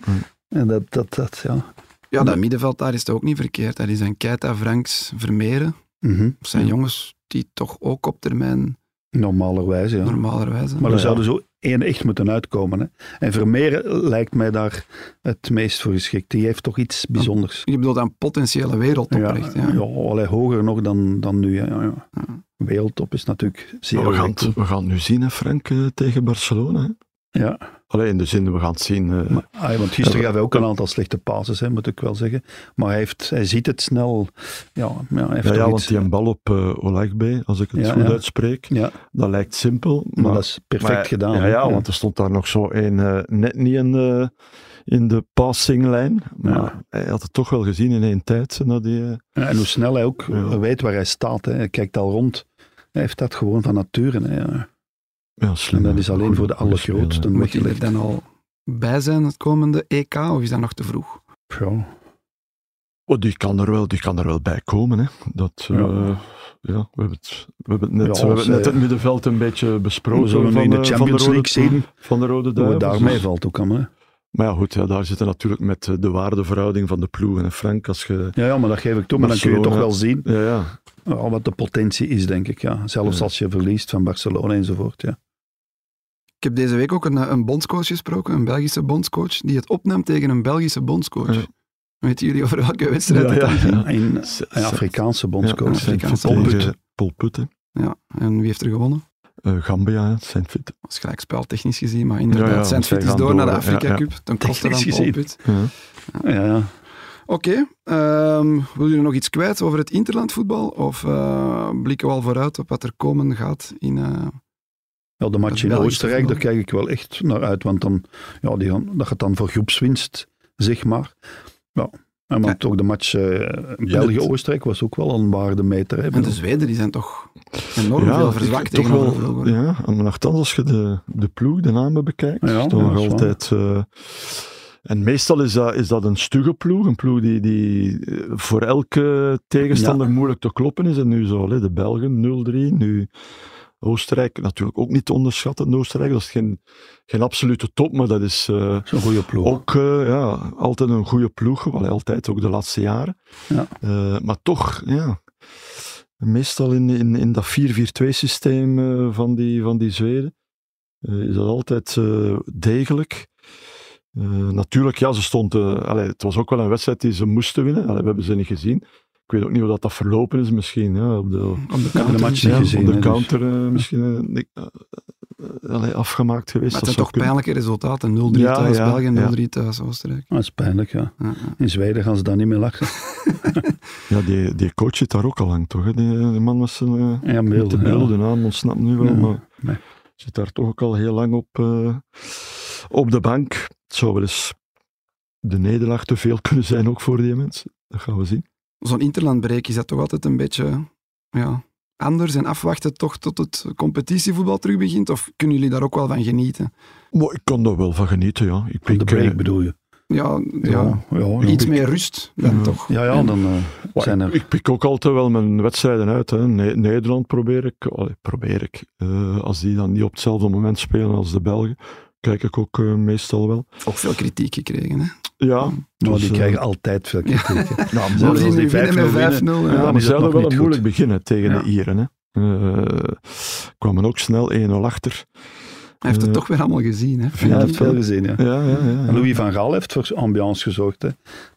Speaker 2: En dat, dat, dat ja.
Speaker 3: ja, dat middenveld daar is het ook niet verkeerd. Dat is een Keita, Franks, Vermeeren.
Speaker 2: Mhm.
Speaker 3: Dat zijn jongens die toch ook op termijn,
Speaker 2: Normalerwijs, ja.
Speaker 3: normalerwijze...
Speaker 2: Maar
Speaker 1: Ja.
Speaker 2: er zouden zo één echt moeten uitkomen. Hè. En Vermeer lijkt mij daar het meest voor geschikt. Die heeft toch iets bijzonders.
Speaker 3: je bedoelt aan potentiële wereldtoprecht, ja.
Speaker 2: ja, allee, hoger nog dan, dan nu. hè. Ja, ja.
Speaker 3: Ja.
Speaker 2: Wereldtop is natuurlijk zeer
Speaker 1: Maar we, gaan het,
Speaker 2: objectief.
Speaker 1: we gaan het nu zien, hè, Frank, eh, tegen Barcelona. Hè?
Speaker 2: Ja.
Speaker 1: Alleen in de zin, we gaan het zien. eh,
Speaker 2: Maar, ah, ja, want gisteren
Speaker 1: Ja,
Speaker 2: gaf hij ook een aantal slechte passes, hè, moet ik wel zeggen. Maar hij, heeft, hij ziet het snel. Ja, ja, hij heeft
Speaker 1: ja,
Speaker 2: toch
Speaker 1: ja, want
Speaker 2: iets-
Speaker 1: die een bal op eh Olakbe, als ik het
Speaker 2: Ja,
Speaker 1: goed
Speaker 2: ja.
Speaker 1: uitspreek,
Speaker 2: ja,
Speaker 1: dat lijkt simpel. Maar,
Speaker 2: maar dat is perfect
Speaker 1: maar-
Speaker 2: gedaan.
Speaker 1: Ja,
Speaker 2: hè.
Speaker 1: ja, want er stond daar nog zo een, eh, net niet in, eh, in de passinglijn, maar
Speaker 2: Ja.
Speaker 1: hij had het toch wel gezien in één tijd. eh, Na die, eh,
Speaker 2: Ja, en hoe snel hij ook
Speaker 1: Ja.
Speaker 2: weet waar hij staat. Hè. Hij kijkt al rond. Hij heeft dat gewoon van nature. Hè. ja.
Speaker 1: ja,
Speaker 2: En
Speaker 1: slim,
Speaker 2: dat
Speaker 1: hè.
Speaker 2: is alleen
Speaker 1: Goeie-
Speaker 2: voor de
Speaker 1: goeie speler.
Speaker 2: allergrootsten
Speaker 3: Moet je er
Speaker 2: weggelegd.
Speaker 3: dan al bij zijn het komende EK, of is dat nog te vroeg?
Speaker 2: Ja.
Speaker 1: Oh, die, kan er wel, die kan er wel bij komen. Hè. Dat, eh,
Speaker 2: Ja.
Speaker 1: ja. we hebben het, we hebben het net,
Speaker 2: Ja,
Speaker 1: we hebben
Speaker 2: als,
Speaker 1: net
Speaker 2: eh,
Speaker 1: het middenveld een beetje besproken.
Speaker 2: We zullen
Speaker 1: van,
Speaker 2: nu in de
Speaker 1: eh, van
Speaker 2: Champions
Speaker 1: rode-
Speaker 2: League zien
Speaker 1: Van de Rode
Speaker 2: hoe het
Speaker 1: Duivels.
Speaker 2: daarmee valt ook allemaal. hè.
Speaker 1: Maar ja, goed, ja, daar zitten natuurlijk met eh, de waardeverhouding van de ploegen. En Frank, als je...
Speaker 2: Ja, ja, maar dat geef ik toe. Maar dan kun je toch
Speaker 1: Barcelona.
Speaker 2: wel zien
Speaker 1: Ja, ja.
Speaker 2: ja, Oh, wat de potentie is, denk ik. Ja. Zelfs
Speaker 1: Ja.
Speaker 2: als je verliest van Barcelona enzovoort. Ja.
Speaker 3: Ik heb deze week ook een, eh, een bondscoach gesproken, een Belgische bondscoach, die het opnam tegen een Belgische bondscoach.
Speaker 1: Ja.
Speaker 3: Weten jullie over welke wedstrijd
Speaker 1: Ja,
Speaker 3: het
Speaker 1: ja, *laughs*
Speaker 3: dan
Speaker 1: ja.
Speaker 3: ging?
Speaker 2: En
Speaker 1: S-
Speaker 2: een
Speaker 1: s-
Speaker 2: Afrikaanse
Speaker 1: Ja,
Speaker 2: bondscoach.
Speaker 3: Afrika-
Speaker 1: Saint-Fit
Speaker 3: Paul
Speaker 1: tegen
Speaker 3: Put.
Speaker 1: Paul Put, hè.
Speaker 3: Ja, en wie heeft er gewonnen?
Speaker 1: Eh, Gambia, hè, Saint-Fit.
Speaker 3: Dat is gelijkspel technisch gezien, maar inderdaad,
Speaker 1: Ja, ja,
Speaker 3: zijn fit
Speaker 1: zij
Speaker 3: is door,
Speaker 1: gaan
Speaker 3: naar de
Speaker 1: door, hè. Ja,
Speaker 3: Afrika
Speaker 1: ja.
Speaker 3: Cup. Ten koste
Speaker 2: Technisch
Speaker 3: van
Speaker 2: gezien.
Speaker 3: Polput.
Speaker 1: Ja.
Speaker 2: Ja, ja.
Speaker 3: Oké, ehm, wil jullie nog iets kwijt over het interlandvoetbal? Of eh, blikken we al vooruit op wat er komen gaat in... eh,
Speaker 2: Ja, de match
Speaker 3: Dat
Speaker 2: in
Speaker 3: Belgisch
Speaker 2: Oostenrijk, daar
Speaker 3: voetbal.
Speaker 2: kijk ik wel echt naar uit. Want dan, ja, die gaan, dat gaat dan voor groepswinst, zeg maar. Ja. En want ook de match eh, België-Oostenrijk was ook wel een waardemeter. Hè,
Speaker 3: en de Zweden, die zijn toch
Speaker 2: Oh,
Speaker 3: enorm
Speaker 1: Ja,
Speaker 3: veel
Speaker 1: ik-
Speaker 3: verzwakt
Speaker 1: toch
Speaker 3: tegenover
Speaker 1: wel-
Speaker 3: Wilbur.
Speaker 1: Ja, maar althans, als je de, de ploeg, de namen bekijkt,
Speaker 2: Ja,
Speaker 1: is dan
Speaker 2: ja,
Speaker 1: nog
Speaker 2: dat is
Speaker 1: altijd... eh, en meestal is dat, is dat een stugge ploeg, een ploeg die, die eh, voor elke tegenstander moeilijk te kloppen is. En nu zo, hè, de Belgen 0-3, nu Oostenrijk, natuurlijk ook niet te onderschatten. Oostenrijk, dat is geen, geen absolute top, maar dat is... eh,
Speaker 2: Zo'n goede ploeg.
Speaker 1: Ook eh, ja, altijd een goede ploeg, wel altijd, ook de laatste jaren.
Speaker 2: Ja.
Speaker 1: Eh, maar toch, ja, meestal in, in, in dat 4-4-2 systeem eh, van, die, van die Zweden eh, is dat altijd eh, degelijk. Eh, natuurlijk, ja, ze stond, eh, allee, het was ook wel een wedstrijd die ze moesten winnen. Allee, we hebben ze niet gezien. Ik weet ook niet hoe dat, dat verlopen is, misschien. Ja, op de,
Speaker 3: Om de
Speaker 2: hebben de
Speaker 3: counter.
Speaker 2: match
Speaker 1: ja,
Speaker 2: niet
Speaker 1: op
Speaker 2: gezien,
Speaker 1: de
Speaker 2: hè, dus.
Speaker 1: counter eh, misschien eh, niet, eh, eh, allee, afgemaakt geweest.
Speaker 3: Maar
Speaker 1: Dat
Speaker 3: het zijn
Speaker 1: zou
Speaker 3: toch pijnlijke resultaten. 0-3
Speaker 1: Ja,
Speaker 3: thuis
Speaker 1: ja,
Speaker 3: België, 0-3
Speaker 1: ja.
Speaker 3: thuis Oostenrijk.
Speaker 2: Dat is pijnlijk, ja.
Speaker 3: Ja, ja.
Speaker 2: In Zweden gaan ze daar niet meer lachen.
Speaker 1: Ja, die, die coach zit daar ook al lang, toch? hè? Die, die man was zijn, eh,
Speaker 2: Ja,
Speaker 1: met de bril, de naam ontsnapt nu wel,
Speaker 2: Ja,
Speaker 1: maar
Speaker 2: nee.
Speaker 1: zit daar toch ook al heel lang op, eh, op de bank. Het zou wel eens de nederlaag te veel kunnen zijn, ook voor die mensen. Dat gaan we zien.
Speaker 3: Zo'n interlandbreek is dat toch altijd een beetje ja, anders en afwachten toch tot het competitievoetbal terug begint? Of kunnen jullie daar ook wel van genieten?
Speaker 1: Maar ik kan daar wel van genieten, ja. Ik,
Speaker 2: Van de
Speaker 1: ik, eh,
Speaker 2: break bedoel je.
Speaker 3: ja, ja,
Speaker 2: Ja, ja, ja.
Speaker 3: iets meer rust dan
Speaker 1: Ja.
Speaker 3: toch.
Speaker 2: Ja, ja, dan eh,
Speaker 1: Maar
Speaker 2: zijn
Speaker 1: ik-
Speaker 2: er...
Speaker 1: Ik pik ook altijd wel mijn wedstrijden uit. Hè. Ne- Nederland probeer ik. allee, probeer ik. Eh, als die dan niet op hetzelfde moment spelen als de Belgen, kijk ik ook eh, meestal wel.
Speaker 3: Ook veel kritiek gekregen. Hè?
Speaker 1: Ja,
Speaker 2: Nou,
Speaker 1: dus,
Speaker 2: die
Speaker 1: eh,
Speaker 2: krijgen altijd veel
Speaker 3: Ja.
Speaker 2: kritiek. hè.
Speaker 1: ja,
Speaker 2: Zelfs
Speaker 1: maar
Speaker 3: Zelfs
Speaker 2: als
Speaker 3: die
Speaker 2: die
Speaker 3: nu
Speaker 2: 5-0
Speaker 3: winnen met 5-0.
Speaker 2: winnen,
Speaker 3: ja.
Speaker 1: ja,
Speaker 2: dan
Speaker 1: maar
Speaker 2: is
Speaker 1: ze hadden
Speaker 2: het nog
Speaker 1: wel een
Speaker 2: niet
Speaker 1: moeilijk beginnen tegen
Speaker 3: Ja.
Speaker 1: de Ieren. Hè. Eh, kwamen ook snel 1-0 achter.
Speaker 3: Hij heeft het
Speaker 1: Eh,
Speaker 3: toch weer allemaal gezien. Hè?
Speaker 1: vind
Speaker 2: Ja,
Speaker 1: ik
Speaker 2: dat heeft veel gezien, ja.
Speaker 1: Ja, ja, ja. ja.
Speaker 2: En Louis van Gaal heeft voor ambiance gezorgd, hè,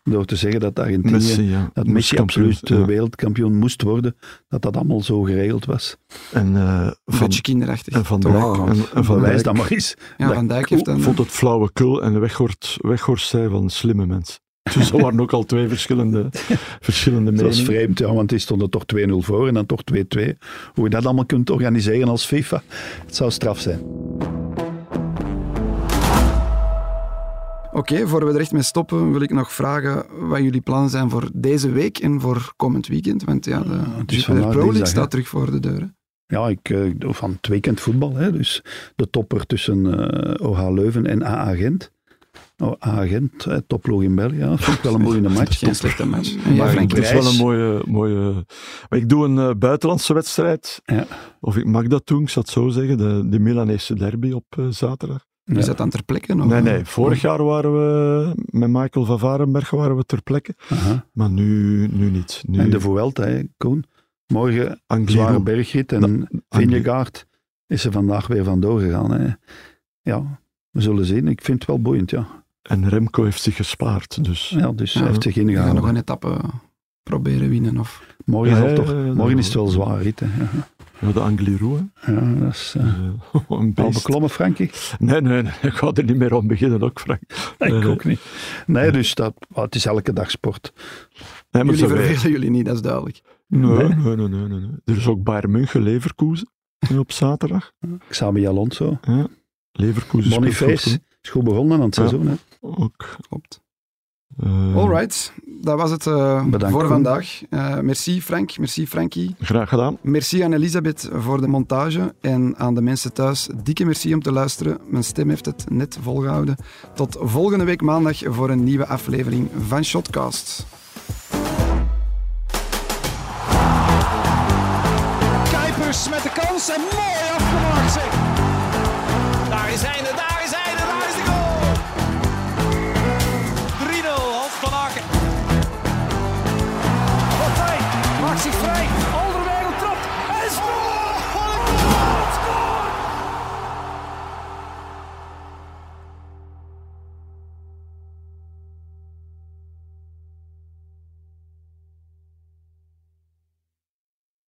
Speaker 2: door te zeggen dat Argentinië...
Speaker 1: Messi, ja.
Speaker 2: dat
Speaker 1: Moest
Speaker 2: Messi
Speaker 1: kampioen.
Speaker 2: absoluut eh,
Speaker 1: Ja.
Speaker 2: wereldkampioen moest worden, dat dat allemaal zo geregeld was.
Speaker 1: En eh,
Speaker 3: Een
Speaker 1: Van
Speaker 3: beetje kinderachtig.
Speaker 1: En Van
Speaker 3: toch?
Speaker 1: Dijk, en, en van
Speaker 2: Bewijs
Speaker 1: Dijk
Speaker 2: dat maar
Speaker 1: *laughs*
Speaker 2: eens.
Speaker 3: Ja, Van Dijk heeft dan...
Speaker 1: vond het flauwekul en weghoort, weghoort zij van slimme mensen. *laughs* Dus er waren ook al twee verschillende, verschillende
Speaker 2: *laughs* Dat is
Speaker 1: meningen.
Speaker 2: vreemd, ja, want die stonden toch 2-0 voor en dan toch 2-2. Hoe je dat allemaal kunt organiseren als FIFA, het zou straf zijn.
Speaker 3: Oké, voor we er echt mee stoppen, wil ik nog vragen wat jullie plannen zijn voor deze week en voor komend weekend. Want ja, de
Speaker 2: het is
Speaker 3: Jupiler
Speaker 2: vandaag
Speaker 3: Pro League
Speaker 2: dinsdag,
Speaker 3: staat
Speaker 2: hè?
Speaker 3: terug voor de deur. hè.
Speaker 2: Ja, ik eh, doe van het weekend voetbal, hè, dus de topper tussen eh, OH Leuven en AA Gent. Oh, AA Gent, eh, topploeg in België, ja, dat vond ik
Speaker 1: *laughs*
Speaker 2: wel een boeiende match.
Speaker 3: Geen slechte match. En jij,
Speaker 2: Maar
Speaker 3: Frank?
Speaker 1: Het is
Speaker 2: Prijs.
Speaker 1: wel een mooie... mooie... Maar ik doe een eh, buitenlandse wedstrijd.
Speaker 2: Ja.
Speaker 1: Of ik mag dat doen, ik zou het zo zeggen. De, de Milanese derby op eh, zaterdag.
Speaker 3: Is
Speaker 2: Ja.
Speaker 3: dat dan ter plekke? nog?
Speaker 1: nee, nee. Vorig jaar waren we... Met Michael van Varenberg waren we ter plekke.
Speaker 2: Aha.
Speaker 1: Maar nu, nu niet. Nu
Speaker 2: En de Vuelta, hè, Koen. Morgen
Speaker 1: Angliru-
Speaker 2: zware bergrit en
Speaker 1: Angli-
Speaker 2: Vingegaard is er vandaag weer vandoor gegaan. Hè. Ja, we zullen zien. Ik vind het wel boeiend, ja.
Speaker 1: En Remco heeft zich gespaard, dus...
Speaker 2: ja dus
Speaker 3: Ja.
Speaker 2: hij heeft zich
Speaker 3: We gaan nog
Speaker 2: ingehouden.
Speaker 3: een etappe proberen winnen. Of...
Speaker 2: Morgen,
Speaker 1: Ja,
Speaker 2: zal toch,
Speaker 1: ja, ja, ja,
Speaker 2: morgen
Speaker 1: ja.
Speaker 2: is het wel zwaar rit. Hè. Ja.
Speaker 1: Ja, de Angliru, hè.
Speaker 2: Ja, dat is
Speaker 1: Dus,
Speaker 2: eh,
Speaker 1: eh, *laughs* een
Speaker 2: al
Speaker 1: beest.
Speaker 2: beklommen, Frankie.
Speaker 1: Nee, nee, nee, ik ga er niet meer aan beginnen ook, Frank.
Speaker 2: Nee, ik
Speaker 1: Eh,
Speaker 2: ook niet. Nee, dus dat, ah, het is elke dag sport.
Speaker 1: Nee, maar
Speaker 3: Jullie
Speaker 1: zo wij-
Speaker 3: vervelen jullie niet, dat is duidelijk.
Speaker 1: nee,
Speaker 2: Nee.
Speaker 1: nee, nee, nee, nee, nee. Er is ook Bayern München, Leverkusen nu op zaterdag.
Speaker 2: Xabi Alonso.
Speaker 1: Ja. Leverkusen speelt
Speaker 2: Boniface
Speaker 1: goed,
Speaker 2: is goed begonnen aan het
Speaker 1: Ja.
Speaker 2: seizoen. Hè.
Speaker 1: Ook.
Speaker 3: Klopt.
Speaker 1: Eh,
Speaker 3: All right, dat was het eh,
Speaker 2: Bedankt,
Speaker 3: voor
Speaker 2: Koen.
Speaker 3: vandaag. Eh, merci Frank, merci Frankie.
Speaker 1: Graag gedaan.
Speaker 3: Merci aan Elisabeth voor de montage en aan de mensen thuis. Dikke merci om te luisteren. Mijn stem heeft het net volgehouden. Tot volgende week maandag voor een nieuwe aflevering van Shotcast.
Speaker 4: Kuipers met de kans en mooi